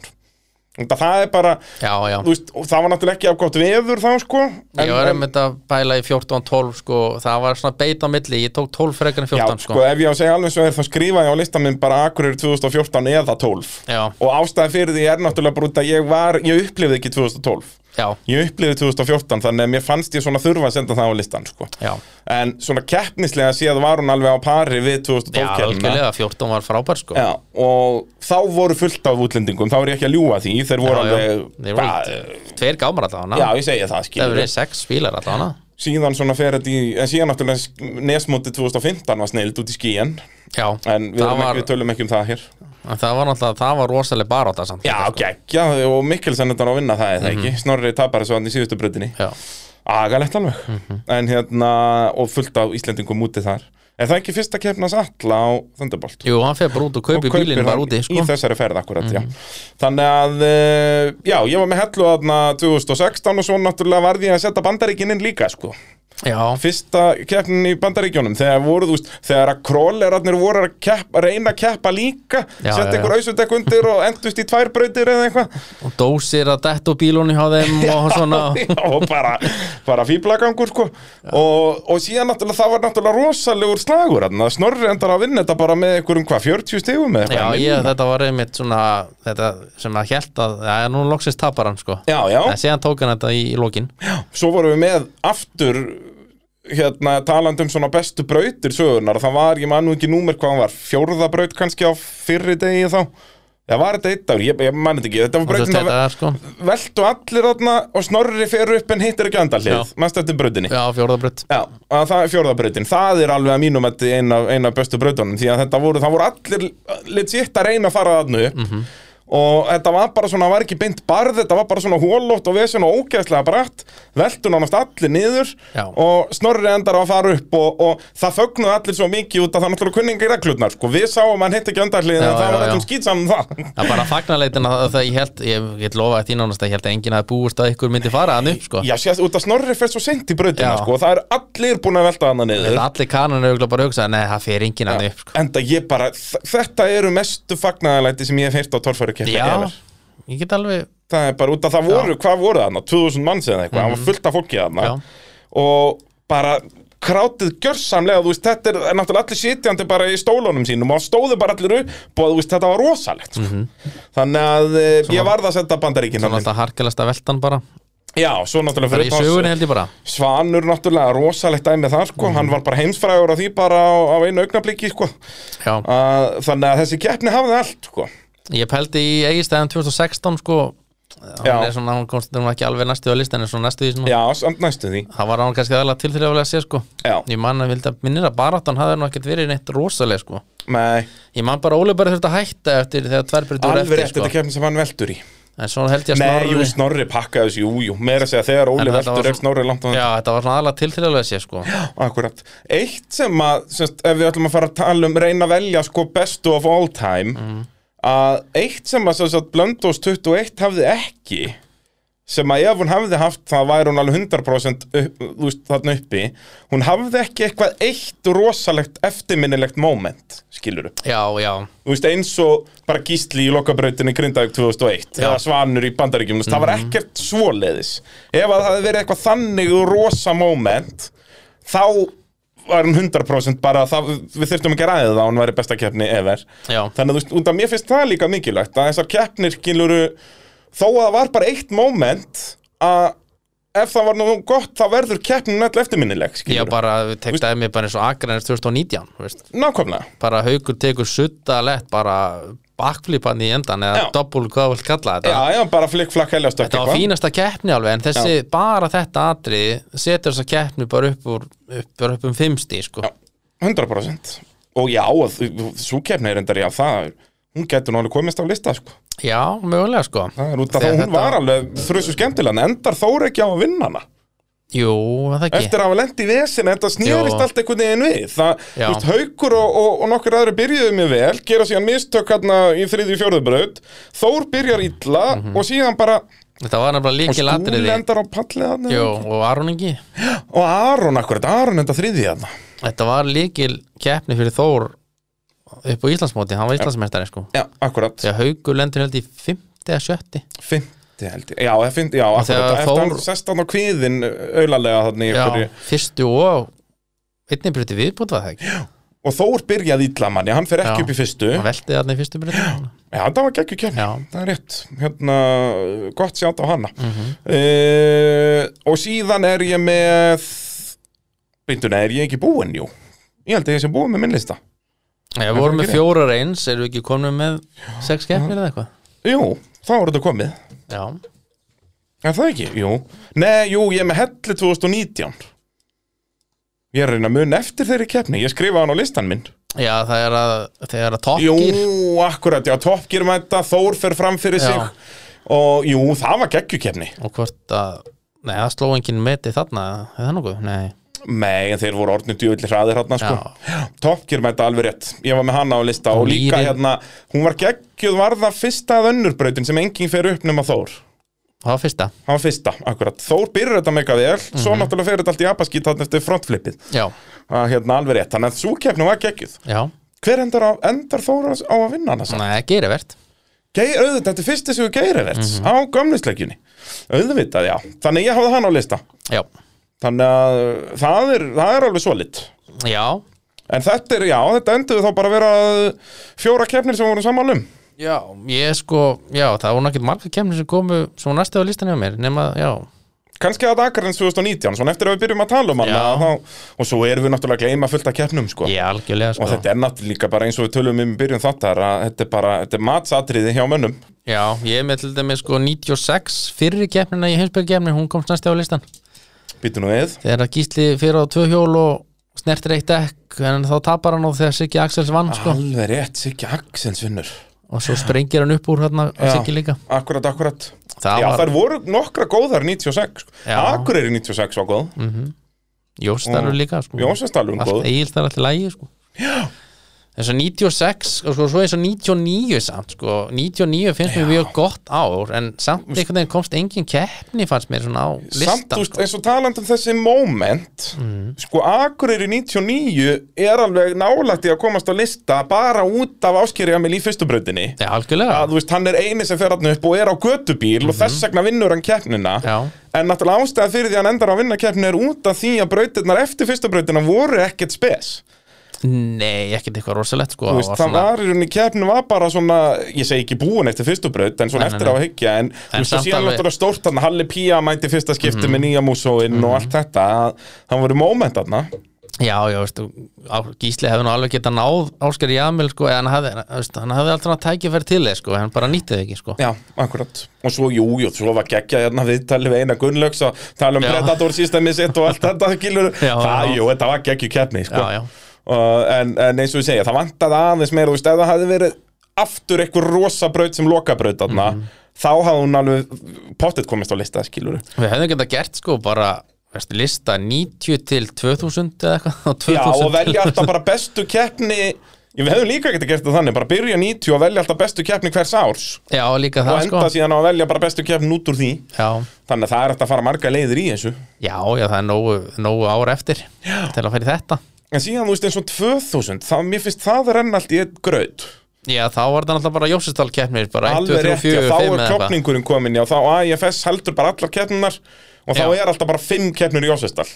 Þetta það er bara,
Já, já,
þú veist, og það var náttúrulega ekki af gott veður þá, sko en,
ég var
en-
einmitt að bæla í 14-12 sko, það var svona beit á milli, ég tók 12 frekar en
Já,
14
sko, ef ég á að segja alveg svo er þá skrifa ég á listan minn bara Akureyri 2014 eða 12
Já.
og ástæði fyrir því er náttúrulega bara út að ég var, ég upplifði ekki 2012
Já,
ég upplifði 2014 þannig að mér fannst ég svona þurfa að senda það á listan, sko
já
En svona keppnislega séð var hún alveg á pari við
Já,
2012 keppnina
algjörlega, 14 var frábær sko
Já, og þá voru fullt af útlendingum, þá er ég ekki að ljúga því, þeir voru
já, já.
alveg
Þeir voru alveg tveir gámar allavega
Já,
hana
ég segi það,
Það
skilur
voru sex bílar allavega
Síðan svona fer þetta í, en síðan náttúrulega nesmótið 2015 var snild út í skíin
Já,
En við,
það,
erum
var,
ekki, við tölum ekki um það hér
en það var náttúrulega, það var rosalega baróta samt
Já,
líka, sko.
geggja, sko- og Mikkelsen þetta er að vinna það eða ekki Snorri tapar þessu hann í síðustu bröðinni
sko. Mhm. já. Mhm.
Agalegt alveg En hérna, og fullt af Íslendingum úti þar Er það ekki fyrsta keppnas alla á Thunderbolt?
Jú, hann fer bara út og kaupi
kaupir
bílinn bara
hann
úti sko. Mhm.
í þessari ferð akkurat, já þannig að, eh, já, ég var með hellu aðna 2016 og svo náttúrulega varði ég að setja bandaríkinin líka, sko
Já,
fyrsta keppnin í bandaríkjónum þegar voru, þú veist, þegar að króllerarnir voru að keppa, reyna að keppa líka
Já,
setja
já,
ykkur ausundekk undir og endust í tvær brautir eða eitthvað
og dósir að detta úr bílunni hjá þeim og svona
Já, og bara, bara fýblagangur sko. og, og síðan náttúrulega það var náttúrulega rosalegur slagur þarna. Snorri endar að vinna þetta bara með einhverjum hvað, 40 stigum eða
Já,
eitthvað
ég, þetta var einmitt svona þetta sem að hjælt að, já, nú loksins tapar hann sko
já, já.
En síðan tók hann þetta í, í lokin
svo vorum við með aftur hérna talandi um svona bestu brautir sögunar það var, ég man nú ekki númer hvað hann var fjórða braut kannski á fyrri degi þá Já, var þetta eitt ár? Ég, ég man þetta ekki. Þetta var
þú veist
breytin
þetta
að
er sko
veltu allir þarna og snorri fer upp en hittir ekki andalið.
Já.
Mæst eftir brautinni.
Já, fjórðabrödd
Já, að það er fjórðabrautin. Það er alveg að mínum að ein af, ein af bestu brautunum því að þetta voru, það voru allir legit að reyna að fara þarna upp
Mhm.
og þetta var bara svona, það var ekki beint barð, þetta var bara svona hólótt og vesen og ógeðslega bratt, veltu nánast allir niður
Já.
og snorri endar á að fara upp og, og það fögnuðu allir svo mikið út að það er náttúrulega kunningi reglurnar, sko, við sáum að hann hitt ekki andarlið en
Já,
það
já,
var
já.
allum skýtsamum um það.
Það er bara fagnarleitin að það ég held Ég get lofa að því nánast að ég held að enginn að búist að ykkur myndi fara hann upp sko
Já, sést, út að snorri fer svo seint í brautina,
Já.
sko, og það er allir búin að velta hann niður.
Þetta allir kanan eru bara að hugsa Nei, það fer enginn hann upp sko
Enda ég bara, þ- þetta eru mestu fagnaðalæti sem ég hef heyrt á torfærukeppi
Já, ég get alveg
Það er bara út að það voru, hvað voru þarna, 2000 manns eða eitthvað, það var fullt af fólki þarna
Mhm. Já.
Og bara krátið gjörsamlega, þú veist, þetta er, er náttúrulega allir sitjandi bara í stólunum sínum og stóðu bara allir upp og þú veist, þetta var rosalegt sko. Þannig að e, ég varð að setja bandaríkinn
Mhm. Svona alltaf harkilegsta veltan bara
Já, svo náttúrulega
Það er í
utan-
sögunni held Mhm. ég bara
Svanur náttúrulega, rosalegt dæmi þar sko, hann var bara heimsfrægur á því bara á, á einu augnabliki sko
Já,
að, Þannig að þessi keppni hafði allt sko
ég pældi í Egilstæðum 2016 sko
Já.
Hún er svona, hún komst hún var ekki alveg næstu á listan En svona næstu því svona
Já, samt næstu því
Það var hann kannski aðalega tilþriflega að sé sko
Já,
Ég man að vildi að minnir að baráttan hafði nú ekkert verið neitt rosaleg sko
nei,
Ég man bara að Óli bara þurfti að hætta eftir þegar tværbreytur
alveg
eftir
rétt
sko
þetta keppni sem hann veldur í
En svo held ég að
Nei,
snorri
jú, snorri pakkaði þessu, jú, jú Meira að segja þegar
En
Óli
þetta var
veldur er
svo-
snorri langt á
Já, þetta var svona aðalega tilþriflega að sé sko Já,
Akkurat Eitt sem að, semst, ef við ætlum að fara að tala um Reyna að velja sko best of all time
Mhm.
Að eitt sem að, semst, Blöndós 21 hafði ekki Sem að ef hún hafði haft Það væri hún alveg 100% upp, þú veist, Þarna uppi Hún hafði ekki eitthvað eitt rosalegt Eftirminnilegt moment, skilur
já,
þú veist, eins og bara gísli í lokabrautinni Grindavík 2001 eða svanur í bandaríkjum, mm það
Mhm.
var ekkert svoleiðis ef að það hefði verið eitthvað þannig og rosa moment þá var hún 100% bara það, við þurftum ekki að ræða það að hún væri besta keppni ever
já
þannig að þú veist, út af mér finnst það líka mikilvægt að þessar keppnir giluru þó að það var bara eitt moment að ef það var nú gott þá verður keppnin öll eftirminnileg
Ég
skilur,
bara tek dæmi bara eins og Akranis 2019 þú veist.
nákvæmlega
Bara haukur tekur sutta lett bara backflipan í endan eða
Já.
doppul hvað vilt kalla þetta
já, já, bara flikkflakk heljastökk
Þetta var fínasta keppni alveg en þessi, bara þetta atrið setur þessa keppni bara upp úr upp, bara upp um fimmsti sko
Já, 100% Og já, svo keppni er endar já, það hún getur náttúrulega komist á lista sko.
Já, mögulega sko
það er út af þá
Þegar
hún
þetta-
var alveg þrjusu skemmtilega, en endar Þór ekki á að vinna hana
Jú, var það ekki
eftir að hafa lent í vesin, þetta snýrist
Jó.
allt einhvern veginn við það,
Já.
þú veist, haukur og, og, og nokkur aðri byrjuðu mjög vel, gera síðan mistök hérna í þriðju fjörðubraut Þór byrjar illa
Mhm.
og síðan bara
Þetta var nefnilega
og
líkil
skúli
atriði
endar á pallið hann
Jú, og Aron ekki
og Aron akkurat, Aron endar þriðji hann
Þetta var líkil keppni fyrir Þór upp á Íslandsmóti, hann var Íslandsmeistari sko
já, akkurat,
Þegar haugur lendur held í fimmti eða sjötti
Fymti held ég, já, eða fymti, já, akkurat,
þegar
eftir
Þór-
hann sest hann á kviðin auðarlega þannig
Já,
ykkur,
fyrstu og einnig bruti viðbútt var það ekki
og Þór byrjaði illa manni, hann fer ekki
Já.
upp í fyrstu
Hann veltið þarna í fyrstu bruti
já, það var geggjur kemni,
Já.
það er rétt hérna, gott sjátt á hana mm
Mhm.
og síðan er ég með binduna, er ég ekki búinn, jú ég held að ég sem búinn með minn lista
Við vorum
ekki
með fjórar eins, erum við ekki komin með sex keppnir eða eitthvað
jú, þá er þetta komið
Já,
Er það ekki? Jú. Nei, jú, ég er með hellu 2019. Ég er að reyna að muna eftir þeirri keppni. Ég skrifa hann á listan minn.
Já, það er að þegar að
Jú,
tokkir
akkurat, já, toppgir mæta, Þór fer fram fyrir
Já.
sig og jú, það var geggjukefni
og hvort að Nei, það sló enginn meti þarna er það nokkuð? Nei,
Nei, en þeir voru orðnir djúvillir hraðir hérna, sko Toppgir mæta alveg rétt, ég var með hana á lista og,
Og
líka
Lýrin.
hérna, hún var geggjuð varða fyrsta að önnurbrautin sem enginn fer upp nema Þór
það var fyrsta
Hann var fyrsta, akkurat, Þór byrjar þetta mega vel svo náttúrulega fer þetta allt í apaskýt þarna eftir frontflippið
Já,
að hérna alveg rétt, þannig að svo keppni var geggjuð
já,
Hver endar, á, endar Þór á á að vinna hana? samt?
nei, gerir verðt
Geir, auðvitað, þetta er fyrsti sigur Geiraverts á gömlisleikjunni auðvitað, já, þannig ég hafði hann á lista
Já,
þannig að uh, það er, það er alveg svolít
já,
en þetta er, já, þetta endur þá bara að vera uh, fjóra keppnir sem voru samanlum
já Ég sko, já, það voru náttúrulega marga kemni sem komu svo næstu á listan hjá mér nema, já,
kannski að Akarins 2019, svona eftir að við byrjum að tala um hann
Já.
þá, og svo erum við náttúrulega að gleyma fullt af keppnum sko.
Ég algjörlega sko
og þetta er náttúrulega líka bara eins og við tölum um í byrjun þáttar að þetta er bara, þetta er matsatriði hjá mönnum
Já, ég er með til dæmis sko 96 fyrri keppnina í heimsbyrgkeppni hún komst næsti á listan
býtu nú við,
þegar að Gísli fyrir á tvö hjól og snertir eitt dekk en þá tapar hann og þegar Siggi Axels vann sko
alveg rétt Siggi Axels vinnur
og svo sprengir hann upp úr hérna
Já.
Siggi líka
akkurat, akkurat
Það
já,
var-
þær voru nokkra góðar 96 sko.
Já.
Akureyri 96 var góð mm.
Jóstarur
Og-
líka sko
Jónsastalur
allt
um góð
eigilst er allir lægi sko. eins og 96 og sko, svo eins og 99 samt sko. 99 finnst mér mjög gott ár en samt einhvern veginn komst engin keppni fannst mér svona á
samt
listan sko. Mhm.
úst, eins og taland um þessi moment sko Akureyri 99 er alveg nálætti að komast á lista bara út af áskýri Emil í fyrstu brautinni
Já, algjörlega
að þú veist, hann er eini sem fer hann upp og er á götubíl og þess vegna vinnur hann keppnina
Mhm. Já.
en náttúrulega ástæða fyrir því að hann endar á að vinna keppnina er út af því að brautirnar eftir fyrstu brautina voru ekkert spes
Nei, ekkert eitthvað rosalegt sko,
Þú veist,
var
það
svona-
var í rauninni, keppnin var bara svona ég segi ekki búin eftir fyrstu braut en svona
Nei, nei,
eftir á að hyggja en, þú veist,
samt
það síðan
alveg- Mhm.
náttúrulega stórt hann Halli Pía mæti fyrsta skipti með nýja músóinn og allt þetta að það voru moment þarna
Já, já, veistu, á- Gísli hefði nú alveg getað náð Áskar Jamil sko, en hann hefði, veistu, hann hefði alltaf tækifæri til þess sko, en hann bara nýttið ekki sko.
já, akkurat og svo, jú, jú, svo var geggja hérna viðtalið við eina Gunnlaugs og tala um
Já.
Predator systemið sitt og allt þetta gilur
Já,
það,
já.
jú, þetta var geggju keppni sko.
Já, já.
Uh, en, en eins og ég segja, það vantaði aðeins meira þú veist, ef það hafði verið aftur einhver rosa braut sem lokabraut þarna
Mhm.
þá hafði hún alveg pottet komist á lista skilur
Við hefðum getað gert sko bara veistu, lista 90 til 2000 eða eitthvað og 2000
Já, og velja
til-
alltaf bara bestu keppni Já, Við hefðum líka getið gert það þannig, bara byrja 90 og velja alltaf bestu keppni hvers árs
Já, líka
og
það sko
enda síðan á að velja bara bestu keppni út úr því
já,
Þannig að það er hægt að fara marga leiðir í þessu
já, já, það er nógu, nógu ár eftir já. til að fara í þetta
En síðan, þú veist, eins og 2000, það, mér finnst það renna allt í eitt graut
Já, þá var það alltaf bara Jósestal keppnir bara 1, 2,
Alveg
3,
rétt, já,
4,
þá
5
er
eða eitthvað
klopningurinn komin Já, þá AIFS heldur bara allar keppnunar Og þá
Já.
er alltaf bara fimm keppnur í Jósestal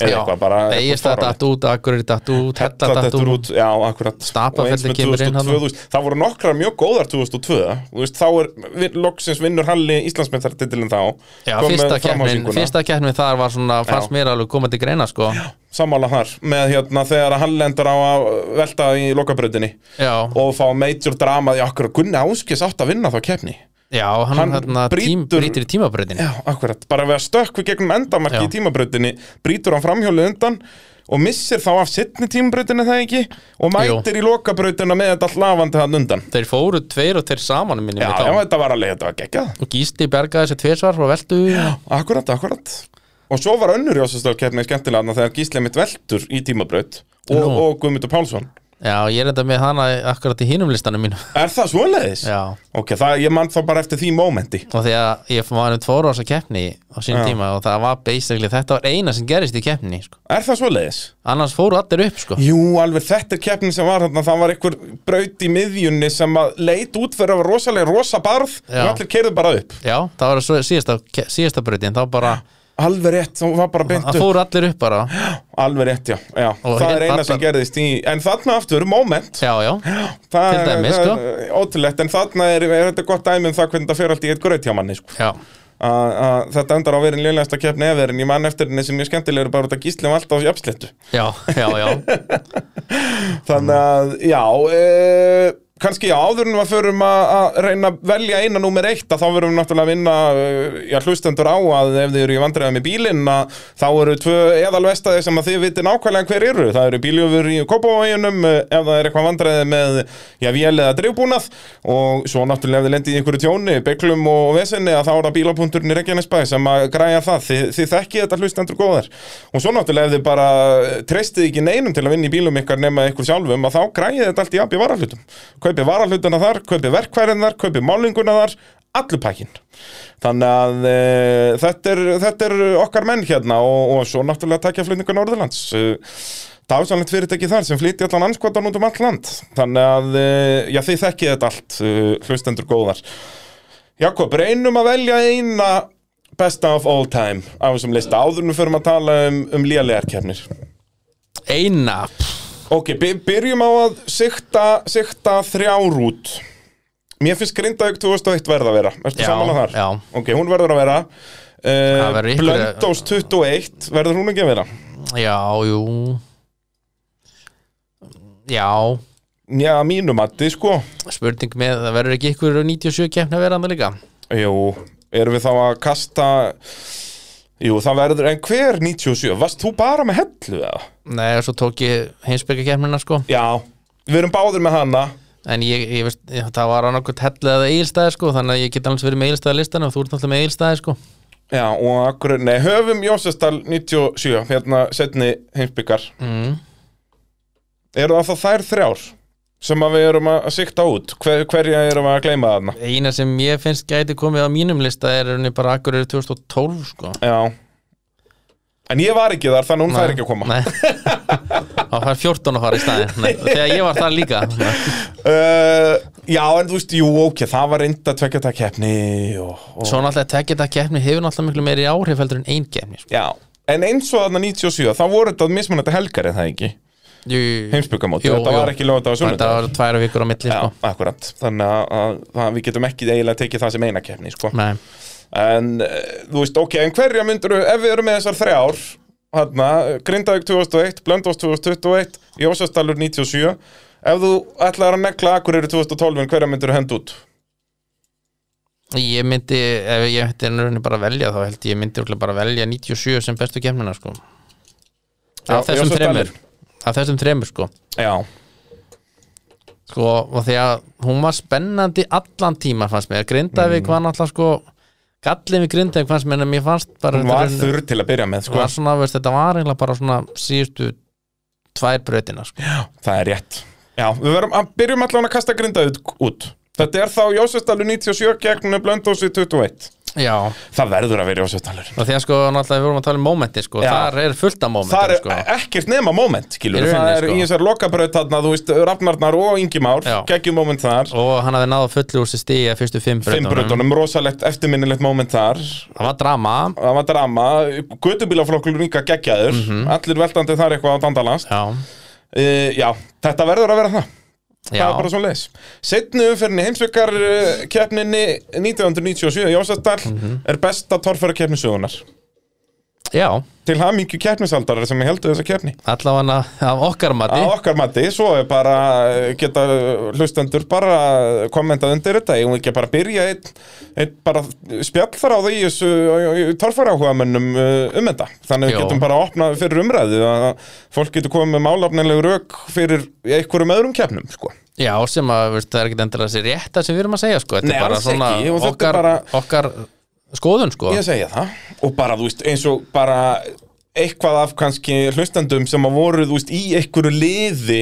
Eða eitthvað, bara
Egist það datt út, Akureyri datt út, Hella
Þetta
datt
dettur
út
út, já, akkurat Og
Stapafelli
eins með
kemur inn
2002,
þarna.
þú veist, Það voru nokkrar mjög góðar 2002 Þú veist, Þá er vi- loksins vinnur Halli Íslandsmeistartitilin þá
Já,
Kom með
fyrsta keppnin,
framhásinguna.
fyrsta keppnin þar var svona, fannst
Já.
mér alveg koma til greina sko
Sammála þar Með hérna þegar að Halli endar á að velta í lokabrautinni
Já,
Og fá major drama Því akkur Gunni Áskis átt að vinna þá keppni
já hann,
hann
hann hérna, tím,
brýtur-
brýtir í tímabröðin
Já, akkurat, bara við að stökkvi gegnum endamarki
Já.
í tímabrautinni Brýtur hann framhjólið undan Og missir þá af sittni tímabrautinni það ekki Og mætir í lokabrautina með þetta allt lafandi hann undan
Þeir fóru tveir og þeir saman minni
Já,
mig
já,
þá.
þetta var alveg, þetta var geggjað
og Gísli bergaði þessi tveisvar frá veldu
Akkurat, akkurat Og svo var önnur Jósastalkeppni skemmtilega þarna þegar Gísli mitt veldur í tímabraut og,
Nú.
og Guðmundur Pálsson
Já, ég er enda með hana akkurat í hinum listanum mínum
Er það svoleiðis?
Já,
Ok, það, ég man þá bara eftir því mómenti
og því að ég var um tvoru ása keppni á sín
Já.
tíma og það var basically þetta var eina sem gerist í keppni sko.
Er það svoleiðis?
annars fóru allir upp sko.
Jú, alveg þetta er keppni sem var þarna Það var einhver braut í miðjunni sem að leit út fyrir að vera rosalega rosa barð
Já.
og allir keirðu bara upp
Já, það var svo, síðasta, ke- síðasta breytin þá bara,
Alveg rétt, þá var bara beint
það
upp
fóru allir upp bara
Alveg rétt, já, já.
Og hérna
Það
hin-
er eina
allar-
sem gerðist í En þarna aftur, moment
Já, já,
Það
Til dæmis,
er-
sko.
það er ótrúlegt, en þarna er, er þetta gott dæmi um það hvernig það fer allt í eitt gröð hjá manni sko.
já
að að þetta endar á verin lélægasta keppni efer en ég mann eftir henni sem mjög skemmtilegur bara út að gíslum alltaf í uppsléttu
Já, já, já,
þannig að,
Mm.
já e, kannski já, áður en við förum að, að reyna að velja eina númer eitt að þá verum við náttúrulega að vinna e, já, hlustendur á að ef þið eru í vandræðum í bílinn að þá eru tvö eðalvestaði sem að þið viti nákvæmlega hver eru það eru bíljöfur í Kópavoginum eh, ef það er eitthvað vandræði með já, vél eða drifbúnað og svo náttúrulega ef þið lendið í einhverju tjóni, beklum og vesenni að þá er það bílapunkturinn í Reykjanesbæ sem að græja það, þið, þið þekkið þetta hlustendur góðar og svo náttúrulega ef þið bara eh, treystið ekki neinum til að vinna í bílum ykkar nema ykkur sjálfum að þá græjið þetta allt í abbi varahlutum kaupið varahlutuna þar, kaupið verkværin þar, kaupið málinguna þar allur pakkin þannig að e, þetta, er, þetta er okkar menn hérna og, og svo náttúrulega takja flutningur Norðurlands Eh, dásanlegt fyrirtæki þar sem flytti allan anskotan út um allt land þannig að e, já, þið þekkið þetta allt e, hlustendur góðar Jakob, reynum að velja eina besta of all time af þessum lista áður en við förum að tala um, um lélegar kefnir
eina
Ok, by byrjum á að sikta, sikta þrjár út Mér finnst Grindavík 2001 verða að vera Ertu
Já,
samanlega þar?
já.
Ok, hún verður að vera uh,
Það verður eh? einhverja-
Blöndós 21 verður hún ekki að vera
Já, jú Já
já, að mínu mati sko
Spurning með, það verður ekki ykkur 97 keppni að vera andan líka
jú, erum við þá að kasta jú, það verður en hver 97, varst þú bara með hellu eða?
Nei, og svo tók ég heimsbyggjarkeppnina sko
já, við erum báðir með hana
En ég, ég veist, ég, það var annarkvæmt hellið eða eigilstæði sko Þannig að ég get alveg verið með eigilstæði listan og þú ert alltaf með eigilstæði sko
já, og akkur, nei, höfum Jósestal 97, hérna setni heimsbyggar
mm.
eru það þá þær þrjár sem að við erum að sikta út Hver, hverja erum að gleyma þarna
Eina sem ég finnst gæti komið á mínum lista er henni bara akkur 2012 sko
já en ég var ekki þar, þannig hún fær ekki að koma
Nei Það fær 14 að fara í staðin Nei, Þegar ég var þar líka
Uh, já, en þú veist, jú, ok, það var reynda tvekjata keppni og, og
Svo náttúrulega tekja þetta keppni hefur náttúrulega miklu meiri áhrif heldur en ein keppni sko.
Já, en eins og þarna 97, þá voru þetta mismunandi helgar en það ekki,
Jú, jú, jú.
heimsbyggamóti,
Jú,
þetta
jú.
var ekki lögða á
Þetta
sunnudag
var tværa vikur á milli
Já,
sko.
akkurat, þannig að, að, að við getum ekki eiginlega tekið það sem eina keppni, sko
Nei,
En, uh, þú veist, ok, en hverja myndur, ef við erum með þessar þrjár Þarna, Grindavík 2001, Blöndós 2021, Jósastalur 97 Ef þú ætlaðir að negla Akureyri 2012, hverja myndur hend út?
Ég myndi, ef ég myndi henni bara velja þá held ég, ég myndi örugglega bara velja 97 sem bestu kemnina sko
Já,
Af þessum
Jósef
þremur
Stalin.
Af þessum þremur sko
Já,
Sko, og því að hún var spennandi allan tíma fannst mér
Mm.
Grindavík var náttúrulega sko Gallin við Grindavík fannst mér en mér fannst bara
hún
þetta
var
raun-
þurr til að byrja með, sko
var svona, veist, Þetta var eiginlega bara svona síðustu tvær brautina sko
Það er rétt Já, við verum að byrjum allan að kasta grinda út Þetta er þá Jósefstalur 97 gegn Blöndósi 21
Já,
Það verður að vera Jósefstalur
og því að sko náttúrulega við vorum að tala um mómenti sko
Já.
Þar er fullt af mómenti
Það er
sko.
ekkert nema moment, skilur
Í rauninni,
Það er
sko.
í þessar lokabraut þarna, þú veist, Rafnarnar og Ingimár
Já.
Geggjum moment þar
Og hann hafði náða fullu úr sér stíði að fyrstu fimm
Fimm
brautunum
brautunum, rosalegt eftirminnilegt moment þar
Það var drama
Það var drama, götubílaflokkur líka geggjaður Allir veltandi þar eitthvað á dandalans
Já
uh, Já, þetta verður að vera það það
Já,
er bara svona leis setni umferðinni heimsveikar keppninni 1997 Jósastal
Mhm.
er besta torfæra keppni sögunar
já
til hamingju keppnisaldar sem heldur þessa keppni
allavega af okkar mati
að okkar mati, svo er bara eh, geta hlustendur bara kommentað undir þetta, ég vil ekki bara byrja einn ein bara spjall þar á því þessu torfæra áhuga mönnum um þetta, þannig við
Jó.
getum bara að opna fyrir umræðu að fólk getur komið með málafnileg rauk fyrir einhverjum öðrum keppnum, sko
Já, sem að veist, það er ekkit endilega sér rétta sem við erum að segja sko. Þetta
Nei,
er bara
alls
svona
ekki, og þetta er
okkar,
bara-
okkar skoðun sko.
Ég segja það Og bara, þú veist, eins og bara eitthvað af kannski hlustendum sem að voru, þú veist, í einhverju liði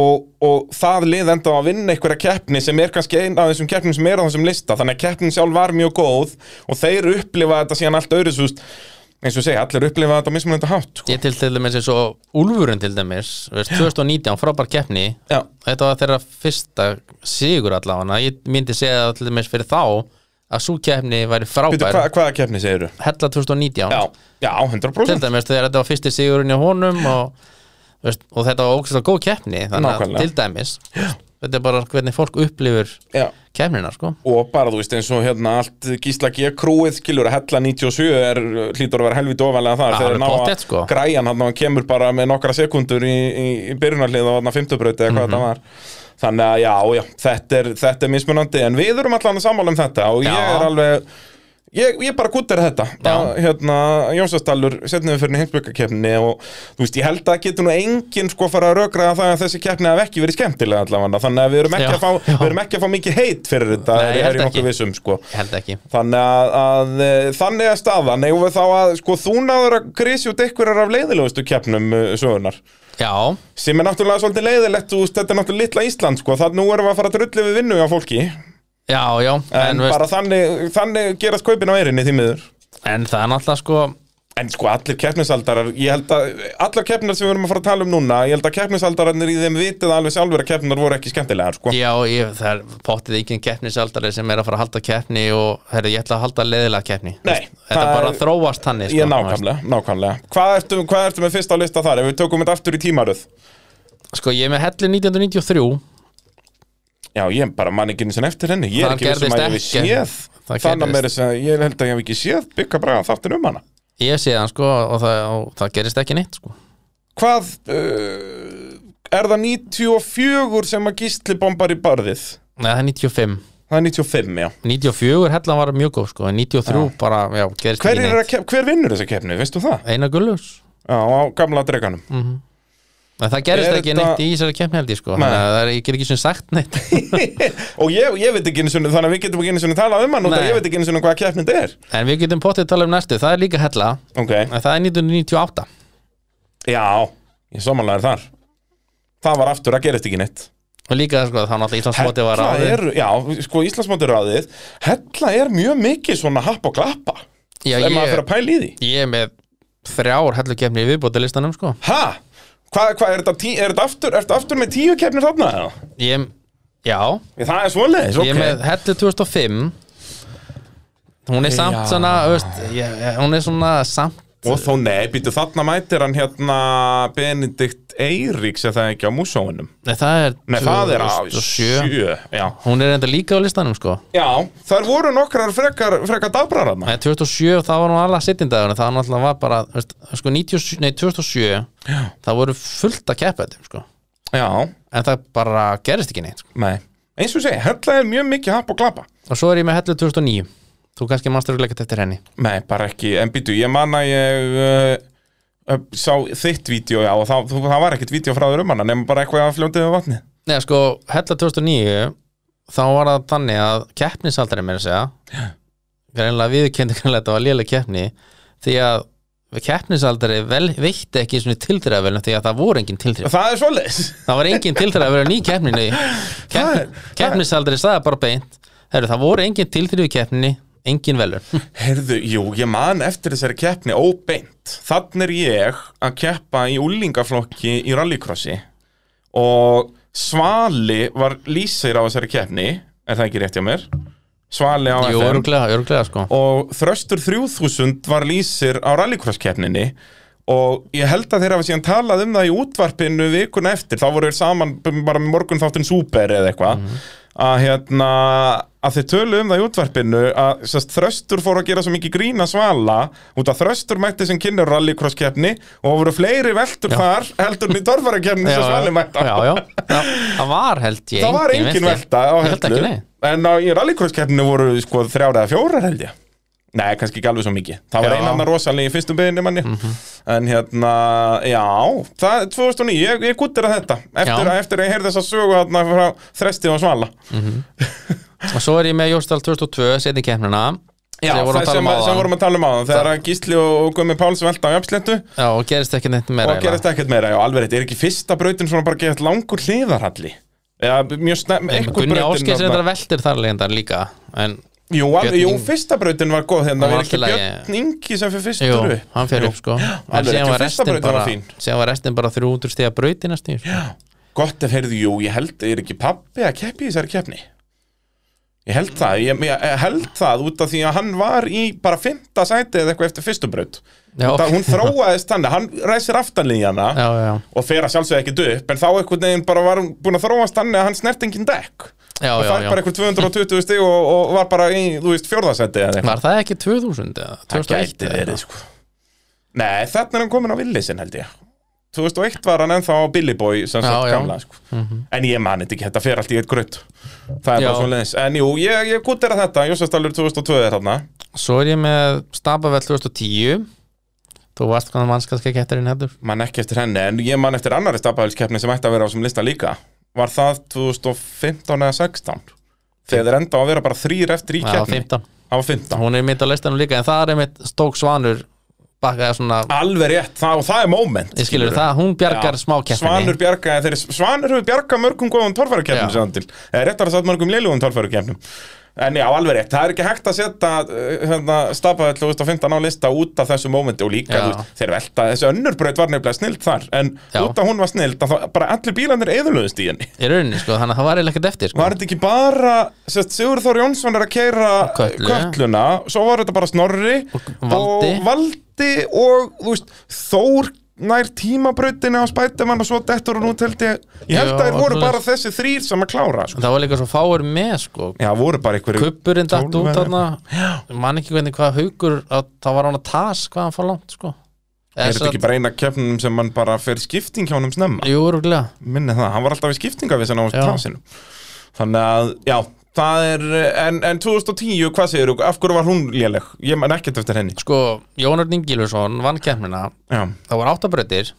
og, og það lið enda á að vinna einhverja keppni sem er kannski einn af þessum keppnum sem er á þessum lista þannig að keppnin sjálf var mjög góð og þeir upplifa þetta síðan allt öðru, þú veist eins og segja, allir upplifa þetta á mismunandi hátt sko.
Ég til til dæmis eins og Úlfurinn til dæmis veist, 2019, frábær keppni
Já,
Þetta var þeirra fyrsta sigur allavega Ég myndi segja það til dæmis fyrir þá að svo keppni væri
Býtu,
frábær
hva, hvaða keppni segirðu?
Hella 2019
Já, já,
til
100%
dæmis þegar þetta var fyrsti sigurinn hjá honum og, veist, og þetta var ógæslega góð keppni þannig að
Nákvæmlega.
til dæmis þetta er bara hvernig fólk upplifur
Já
keppnina sko
og bara þú veist eins og hérna allt gísla G krúið skilur að hella 97 er hlýtur að vera helviti ofalega þar
Ja,
þegar
alveg
ná að
pottþétt, sko.
græjan hann kemur bara með nokkra sekundur í, í, í byrjunarlið og hann fymtubrauti eða
Mhm.
hvað þetta var þannig að já, já, þetta er, þetta er mismunandi en við erum allan að sammála um þetta og ég
Já.
er alveg Ég, ég bara guttir þetta að, hérna, Jónsastallur setnum við fyrir heimsbyggakeppni og þú veist, ég held að getur nú enginn sko fara að rökraða það að þessi keppni hafi ekki verið skemmtilega allavega, þannig að við erum ekki,
Já,
að fá,
já.
við erum ekki að fá mikið heit fyrir þetta
Nei,
er,
ég
er
held
ég nokkuð
ekki.
vissum sko.
ég held ekki
Þannig að, að eh, þannig að staðan eigum við þá að sko, þú náður að grísi út einhverjar af leiðilegustu keppnum eh, sögunar
já,
sem er náttúrulega svolítið leiðilegt þú veist, þetta er náttúrulega litla Ísland sko, þannig nú erum við að fara að drulli við vinnu á fólki en,
já, já en, veist,
bara þannig, þannig gerast kaupin á eirinni því miður
en það er náttúrulega sko
En sko allir keppnisaldarar, ég held að allar keppnar sem við erum að fara að tala um núna ég held að keppnisaldararnir í þeim vitið alveg sjálfur að keppnar voru ekki skemmtilegar sko.
já, ég, það er pottið ekki en keppnisaldari sem er að fara að halda keppni og herri, ég ætla að halda leðilega keppni
Nei,
Veist, þetta
það-
bara þróast þannig sko,
Ég nákvæmlega, nákvæmlega Hvað ertu, hvað ertu með fyrst á lista þar? Ef við tökum þetta aftur í tímaröð
Veist, sko ég er með hellu 1993
Já, Já, ég bara man ekki eins og eftir henni Ég er ekki vissum
Það
að ég hef
gerðist ekki.
séð
Það
Þannig að
gerðist.
mér þess að ég held að ég hef ekki séð Bygga bara þáttin um hana
ég sé hann sko og það, og það gerist ekki neitt sko
Hvað uh, Er það 94 sem að gísli bombar í barðið?
Nei, það er 95
Það er 95, já
94 hellan var mjög góð sko en 93 bara, já, gerist
Hver,
ekki
er að,
neitt
kef- hver vinnur þessa kefni, veistu það?
Einar Gullus
Já, á gamla dreganum
Mm. En það gerist
Er
ekki
þetta-
neitt í Ísari kemni held ég sko
Nei.
Þannig að það er, ég get ekki sem sagt neitt
Og ég, ég veit ekki einu sinni, þannig að við getum ekki einu sinni talað um hann út af
Nei.
Ég veit ekki einu sinni hvað kefnin þetta er
En við getum pottið að tala um næstu, það er líka hella
Ok,
en það er 1998
já, ég samanlega þar Það var aftur að gerist ekki neitt
Og líka sko, þá náttúrulega Íslandsmóti var
Hella
ráðið
er, já, sko Íslandsmóti ráðið Hella er mjög mikið svona happ og glappa
Já,
Ef maður fyrir
ég,
að pæla í því
ég er með þrjár hellu kemni í viðbótalistanum sko
Ha? Hvað, hvað er þetta, tí, er þetta aftur, er þetta aftur með tíu keppnir þarna? eða?
Ég, já,
Það er svoleiðis,
ég
ok
er með hellu 2005 Hún er samt
Já.
svona, veist, ég, hún er svona samt
Og þó nei, býtu þarna mætir hann hérna Benedikt Eiríks eða það ekki á músóunum
Nei, það er
Nei, það er á
2007.
sjö Já,
Hún er enda líka á listanum sko
já þar voru nokkrar frekar, frekar dabrar þarna
Nei, 2007 þá var hún alveg sittindagur það náttúrulega var bara, veist, sko 97, nei 2007 já. það voru fullt að keppa þetta sko
Já,
en það bara gerist ekki neitt sko.
nei Eins og ég segi, Hella er mjög mikið happ og glappa
og svo er ég með hellu 2009 þú kannski mannstur ekkert eftir henni
Nei, bara ekki, en býtu, ég man að ég uh, uh, sá þitt vídeo, já, og það, þú- það var ekkert vídeo frá þér um hana, nema bara eitthvað að fljóndið við vatni.
Nei, sko, hella 2009 þá var það þannig að keppnisaldari mér að segja greinlega viðurkendu greinlega þetta var léleg keppni því að keppnisaldari vel, veitti ekki svona tilþræðavelun því að það voru engin tilþræð
Það er svoleiðis.
það var engin tilþræðavelun í keppninni
Það er-
Kepp, keppnisaldari sagði bara beint Heru, það voru engin tilþræð í keppninni engin velun
Herðu, jú, ég man eftir þessari keppni óbeint. Þann er ég að keppa í úlingaflokki í rallycrossi og Svali var lýsir á þessari keppni, er það ekki rétt hjá mér? Svali á
Jú,
FM.
öruglega, öruglega sko
og Þröstur 3000 var lýsir á rallycross keppninni og ég held að þeir hafa síðan talað um það í útvarpinu vikuna eftir, þá voru þeir saman bara með morgun þáttinn súper eða eitthvað
Mhm.
að hérna að þeir tölu um það í útvarpinu að sest, þröstur fór að gera svo mikið grína svala út að þröstur mætti sem kynnar rallycross keppni og voru fleiri veldur þar heldur niður torfara keppni sem svali mætti á.
já, já. Það, það var held ég
það var
engin
engin velta á
Ég held
hellu
ekki, nei.
en á, í rallycrosskeppninu voru sko þrjár eða fjórar held ég Nei, kannski ekki alveg svo mikið. Það var
Já. Mhm.
einanna rosalega í fyrstum byrðinni manni. En hérna, já, það er 2009, ég, ég guttir að þetta. Eftir,
Já. Mhm.
að, eftir að ég heyrði þess að sögu hérna frá Þresti og Svala.
og svo er ég með Jóstal 2002 setni keppnina
Já,
Sem við vorum
það
að tala
sem,
um áðan.
sem vorum að tala um á það. Þegar að Gísli og Gummi Páls velta á jafnsléttu
Já, og gerist ekki neitt meira
og gerist ekkert meira. Já, alveg rétt, er ekki fyrsta brautin svona bara gerist langur hliðarhalli? Já, mjög snemm,
eitt
einhver
Gunni Áskeis
þarna.
reyndar veltir þar legendar líka en
Jú,
Björn
alveg, jú
Ingi.
fyrsta brautin var góð hérna,
Hún
var
var
ekki
allt í lagi.
Björn Ingi sem fyrir fyrstur
jú,
upp
hann fer
Jú.
upp sko
alveg rétt,
en síðan var
jú, fyrsta
restin
brautin
bara
var fín.
síðan var restin bara 300 stiga brauti næstu í, sko.
Gott ef heyrðu, jú, ég held, er ekki pappi að keppi í þessari keppni Ég held það, ég, ég held það út af því að hann var í bara fymta sæti eða eitthvað eftir fyrstu braut
Já.
Það hún þróaðist þannig, hann ræsir aftanlíðana
já, já,
og fer að sjálfsögðu ekkert upp en þá einhvern veginn bara var hún búin að þróast þannig að hann snert engin dekk
já,
og
já,
fær
já.
bara eitthvað 220 stig og, og var bara í, þú veist, fjórðasæti eða eitthvað
var það ekki 2000 eða
Það
2001
gæti
eða
verið
eitthvað?
sko Nei, þarna er hann komin á villisinn held ég 2001 var hann ennþá á Billy Boy sem sagt
Já, já.
gamla sko. En ég mani þetta ekki, þetta fer allt í eitt grönt Það er
Já.
bara svona leðins En jú, ég, ég gútt er að þetta, Jósastallur 2002 er þarna
svo er ég með Stabavell 2010 þú varst hvað mannskatska kettarinn heldur
Man ekki eftir henni, en ég man eftir annari stafahelskeppni sem ætti að vera á þessum lista líka Var það 2015 eða 16 Þegar þeir enda á að vera bara þrýr eftir í
já,
keppni
15
Á 15
hún er mitt á listanum líka en það er mitt Stók Svanur bakaði svona
Alveg rétt, það, og það er moment
ég skilur
skilurðu.
það, hún bjargar
Já,
smá keppinni
Svanur bjargaði þeirri, Svanur hefur bjargað mörgum góðum torfærukeppnum
Já.
sem hann til eða réttar að sagt mörgum lélugum torfærukeppnum En já, alveg rétt, það er ekki hægt að setja uh, hérna, stapaðið 2015 á lista út af þessu mómenti og líka
Já.
þú veist, þeir velta, þessi önnurbraut var nefnilega snild þar en
Já.
út af hún var snild að þá bara allir bílanir eðurlöðust í henni
í rauninni sko, þannig að það var eiginlega ekkert eftir sko.
Var þetta ekki bara, sérst, Sigur Þór Jónsson er að keira
Kötlu.
kölluna, svo var þetta bara Snorri
Og Valdi.
og, Valdi og þú veist, Þór nær tímabrautina á Spiderman og svo dettur hún út held ég ég held
Já,
að þeir voru
alveg.
bara þessi þrýr sem að klára sko.
En það var líka svo fáir með sko
já, voru bara einhverju
Kuppurinn datt út
Tólf eða
þarna Ég Man ekki hvernig hvað haugur að, Það var hann að tas hvað hann fór langt sko
er þetta ekki bara eina keppnum sem mann bara fer skipting hjá honum snemma
Jú, rúglega
minni það, hann var alltaf í skiptinga við sem á
Já.
tásinu þannig að, já, það er en, en 2010, hvað segir þú, af hverju var hún léleg? Ég man ekkert eftir henni
Sko, Jónar Ningilusson vann kemnina
já,
Það voru áttabröðir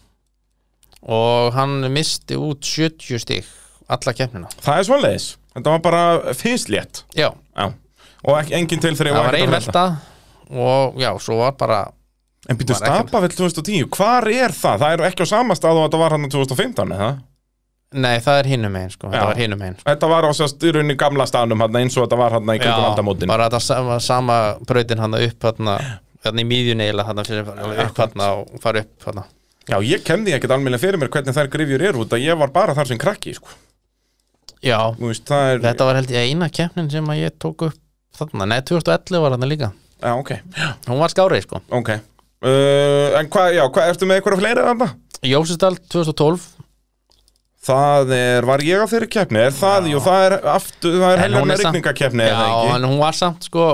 Og hann misti út 70 stig Alla kemnina
það er svoleiðis þetta var bara fyrslétt
Já,
já, og ekki, engin til þegar
það var ein velta Og já, svo var bara
en býtu
var ekkert.
Stapafell 2010, hvar er það? það er ekki á sama stað og þetta var hann 2015, eða?
Nei, það er hinum einn sko
Já.
Það var hinum einn sko.
þetta var á sér styrunni gamla staðnum hann, eins og þetta var hann í
Já,
kringum aldamótin
bara þetta sama, sama brautin hann upp hann Þannig í miðjunni eiginlega þarna fyrir alveg upp hann og fara upp hann
já, ég kenni ekkert almennilega fyrir mér hvernig þær grifjur eru út að ég var bara þar sem krakki, sko
Já,
Þú veist, það er,
þetta var held ég eina keppnin sem að ég tók upp þarna, nei 2011 var hann líka
já, ok
Hún var skárið sko
Ok uh, En hvað, já, hvað ertu með eitthvað fleiri þarna?
Jósisdal 2012
Það er, var ég á þeirri keppni? Er það, jú, það er aftur, það er
En
helgar
hún er
með
samt-
rigningakeppni
Já,
eða ekki?
en hún var samt sko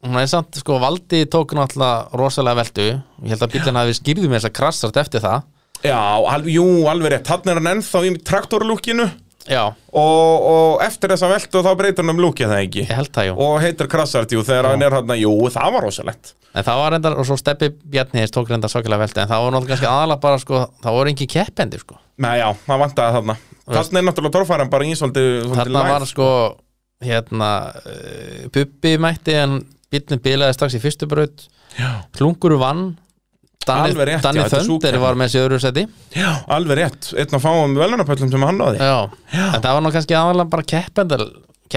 Hún er samt sko, Valdi tók náttúrulega rosalega veldu Ég held að bílinn hafi skýrðu með þess að krassast eftir það
Já, alveg, jú, alveg rétt, þannig er hann ennþá í traktorlúkinu
Já,
og, og eftir þessa veltu þá breytir hann um lúkið það ekki
ég held það jú
og heitir krassart, jú, þegar hann er hann jú, það var rosalegt
En það var reyndar, og svo Steppi Bjarniðis tók reyndar svakalega veldu En það var náttúrulega kannski aðalega bara sko Það voru engin keppendur sko
Nei, já, það vantaði þarna Þarna er náttúrulega torfæran bara í svolítið, svolítið
Þarna
lægð.
var sko Hérna, uh, Bubbi mætti En bílinn bilaði strax í fyrstu braut
Já.
Klungur vann Danni,
Alveg rétt,
Danni
já, þetta er sú
Þöndir
keppni.
var með sér öðru seti
Já, alveg rétt, einn að fáum velunarpöllum sem hann náði
Já, en það var nú kannski aðalega bara keppendal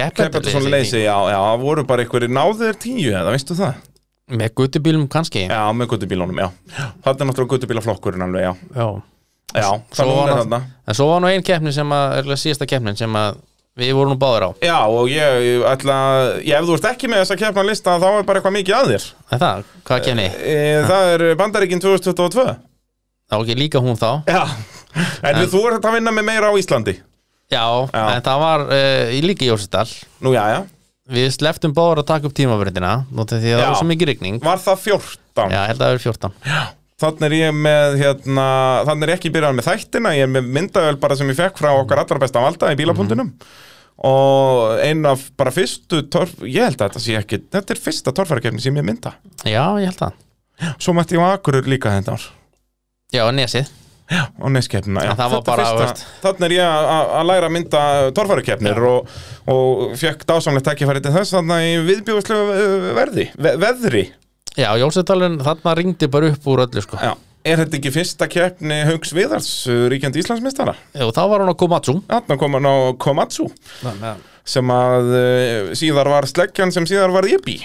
Keppandi svona leysi, já, já, það voru bara einhverjir náður tíu, eða veistu það?
Með guttubílum kannski
Já, með guttubílunum, já. Það er náttúrulega guttubílaflokkurinn alveg, já.
Já.
Já,
Svo
þannig
var
hún er
hann-
þarna.
En svo var nú ein keppni sem að Erlega síðasta keppnin sem að Við vorum nú báður á
Já, og ég, ég ætla, ég, ef þú ert ekki með þessa keppna lista, þá er bara eitthvað mikið að þér.
En það, hvað keppni?
E, það er Bandaríkin 2022.
Það var ekki líka hún þá
Já, en, en þú ert að vinna með meira á Íslandi.
Já,
Já.
en það var uh, líka í Jósisdal
Nú, já, já.
Við sleftum báður að taka upp tímabrindina Nóttið því
Já.
að það var svo mikið rigning
Var það 14?
Já, ég held að það verið 14
Þannig er ég með, hérna, þannig er ég ekki byrjað með þættina, ég er með myndavel bara sem ég fekk frá okkar allra besta valda í bílapunktunum og einn af bara fyrstu torf, ég held að þetta sé ekki, þetta er fyrsta torfærakefni sem ég mynda.
Já, ég held það
Svo mætti ég á Akurur líka þetta ár
Já, Nesið
og neyskeppnina.
En það var bara, veist-
Þannig er ég að- að að læra að mynda torfærakefnir og, og fekk dásamlegt tækifæri til þess þannig í viðbjóðslu verði, ve veðri.
Já, Jósisdalun, þarna ringdi bara upp úr öllu sko
Já. Er þetta ekki fyrsta keppni Hauks Viðars, uh, ríkjandi Íslandsmeistara?
Og þá var hún á Komatsu
Þarna kom hann á Komatsu sem að uh, síðar var sleggjan sem síðar var Yibi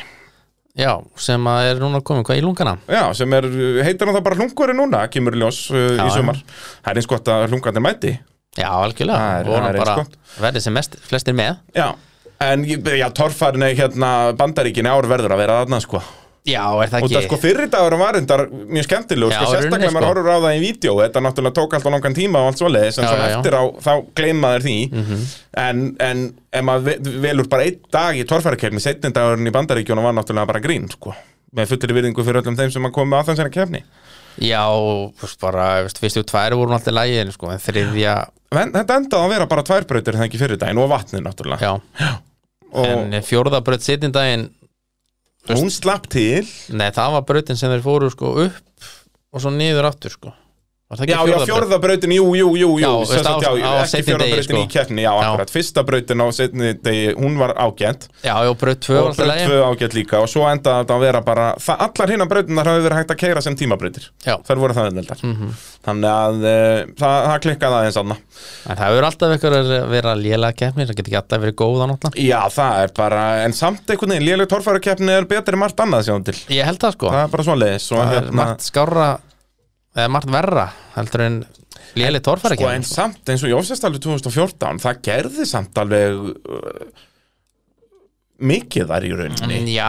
Já, sem að er núna komin hvað í lungana
Já, sem er, uh, heitir hann það bara hlungurinn núna, kemur í ljós uh,
Já,
í
já.
sumar Það er eins gott að hlungandi mæti
Já,
Það
algjörlega,
er-
og
það
hann
er sko.
bara
eins
verði sem mest, flestir með
Já, en ég- já, torfarinn er hérna bandaríkinni ár verður að vera þarna sko
Já, er það
Og það
ekki
sko fyrri dagur var reyndar mjög skemmtileg
Já,
sko,
í rauninni,
Sérstaklega maður
sko.
horfur á það í vídeo Þetta náttúrulega tók alltaf langan tíma og allt svoleiðis En
Já,
svona
já, Mhm. já.
eftir á, þá gleyma þér því En, en ef maður ve- velur bara einn dag í torfærakefni Setni dagurinn í bandaríkjónu var náttúrulega bara grín sko Með fullri virðingu fyrir öllum þeim sem að koma að þessari kefni
Já, þú veist, bara, veist, fyrstu tværi voru alltaf lægin, sko, en þriðja
en, Þetta endaði að vera bara tværbrautir þegar ekki fyrir daginn Og vatnið náttúrulega
Já,
Og
en fjórða braut setjindaginn
hún slapp til
Nei, það var brautin sem þeir fóru, sko, upp og svo niður aftur, sko Var það ekki
Já, já,
braut?
fjórða brautin, jú, jú, jú, jú
Já,
sem
veist,
sagt,
á-
já,
á
Ekki
seinni
fjórða
degi,
brautin
sko.
í keppni, já,
Já.
akkurat Fyrsta brautin á setni degi, hún var ágænt
Já, já, braut tvö var
og
alltaf
braut
lægin
tvö ágætt líka og svo endaði þetta að vera bara það, allar hinna brautinar hafi verið hægt að keira sem tímabrautir
Já,
þar voru það ennveldar
Mhm.
þannig að e, það, það klikkaði aðeins anna
en það hefur alltaf eitthvað að vera lélega keppnir, það getur ekki alltaf verið góða náttúrulega
já það er bara en samt einhvern veginn léleg torfærukeppni er betri en margt annað sjáum til
Ég held það, sko
það er bara svoleiðis og
það er
hérna
margt skárra eða margt verra heldur en léli torfæri
sko en samt eins og Jófsestalvi 2014 það gerði samt alveg uh, mikið þar í rauninni
já,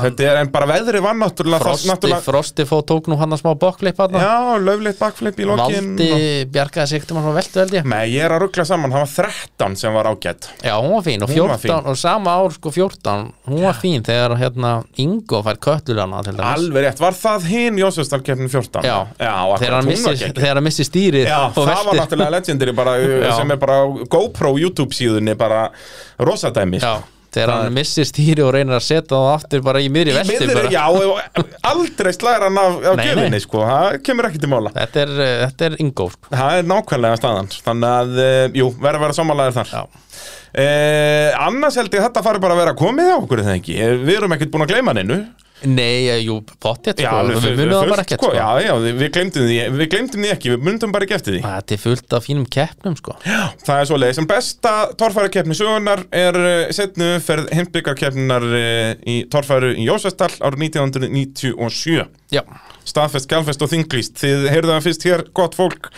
Þetta er en bara veðrið var náttúrulega það-
Mm. Frosti,
náttúrulega-
Frosti fó tók nú hann að smá bokkleip hann
Já, löfleitt backflip í lokin Mm.
Valdi bjargaði sig til maður frá veltu held ég
Nei, ég er að ruggla saman, það var 13 sem var ágætt
Já, hún var fín og
Hún var
14
fín.
og sama ár sko 14 hún var fín þegar hérna Ingo fær köttulana til dæmis
Alveg rétt, var það hinn Jósefsdalkeppnin 14?
Já.
já akkurat,
þegar
hún var
hann missi,
geggjuð.
þegar hann missi stýrið
Já,
og
það var
veltir
náttúrulega legendary bara, uh,
Já.
sem er bara á GoPro YouTube síðunni bara rosadæmi
Já, þegar hann missir stýri og reynir að setja það aftur bara í miðri veltu
Miður,
bara.
já, og aldrei slæra hann af, af
Nei,
gjöfinni
nei.
sko, það kemur ekki til mála
Þetta er, eh, þetta er Ingo sko.
Það er nákvæmlega staðan, þannig að, eh, jú, verður að vera sammálaðir þar
Já.
eh, Annars held ég þetta fari bara að vera komið á okkur eða ekki Eh, Við erum ekkert búin að gleyma neinu
Nei, eh, jú, pottet sko,
Já, alveg
við
fullt-
munum það bara
fullt,
ekkert
sko.
sko.
Já, já, við- við glemdum því, við glemdum því ekki, við myndum bara ekki eftir því
Þetta er fullt af fínum keppnum sko.
Það er svo leiðis, en besta torfærakeppni sögunar er eh, setnu ferð heimbyggarkeppninar eh, í torfæru í Jósvestal árið 1997
Já,
staðfest, gælfest og þinglýst þið heyrðu það fyrst hér, gott fólk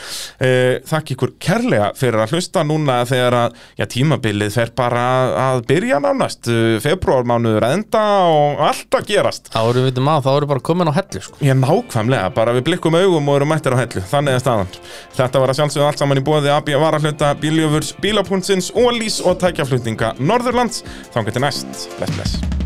eh, þakk ykkur kærlega fyrir að hlusta núna þegar að já, tímabilið fer bara að byrja nánast februarmánuður að enda og allt að gerast
þá eru við maður, þá eru bara komin á hellu sko.
Já, nákvæmlega, bara við blikkum augum og erum mættir á hellu, þannig er staðan. Þetta var að sjálfsögðu allt saman í bóði AB Varahluta, Bíljöfurs, Bílapúntsins, Ólís og tækjaflutninga Norðurlands. Þangar til næst, bless bless.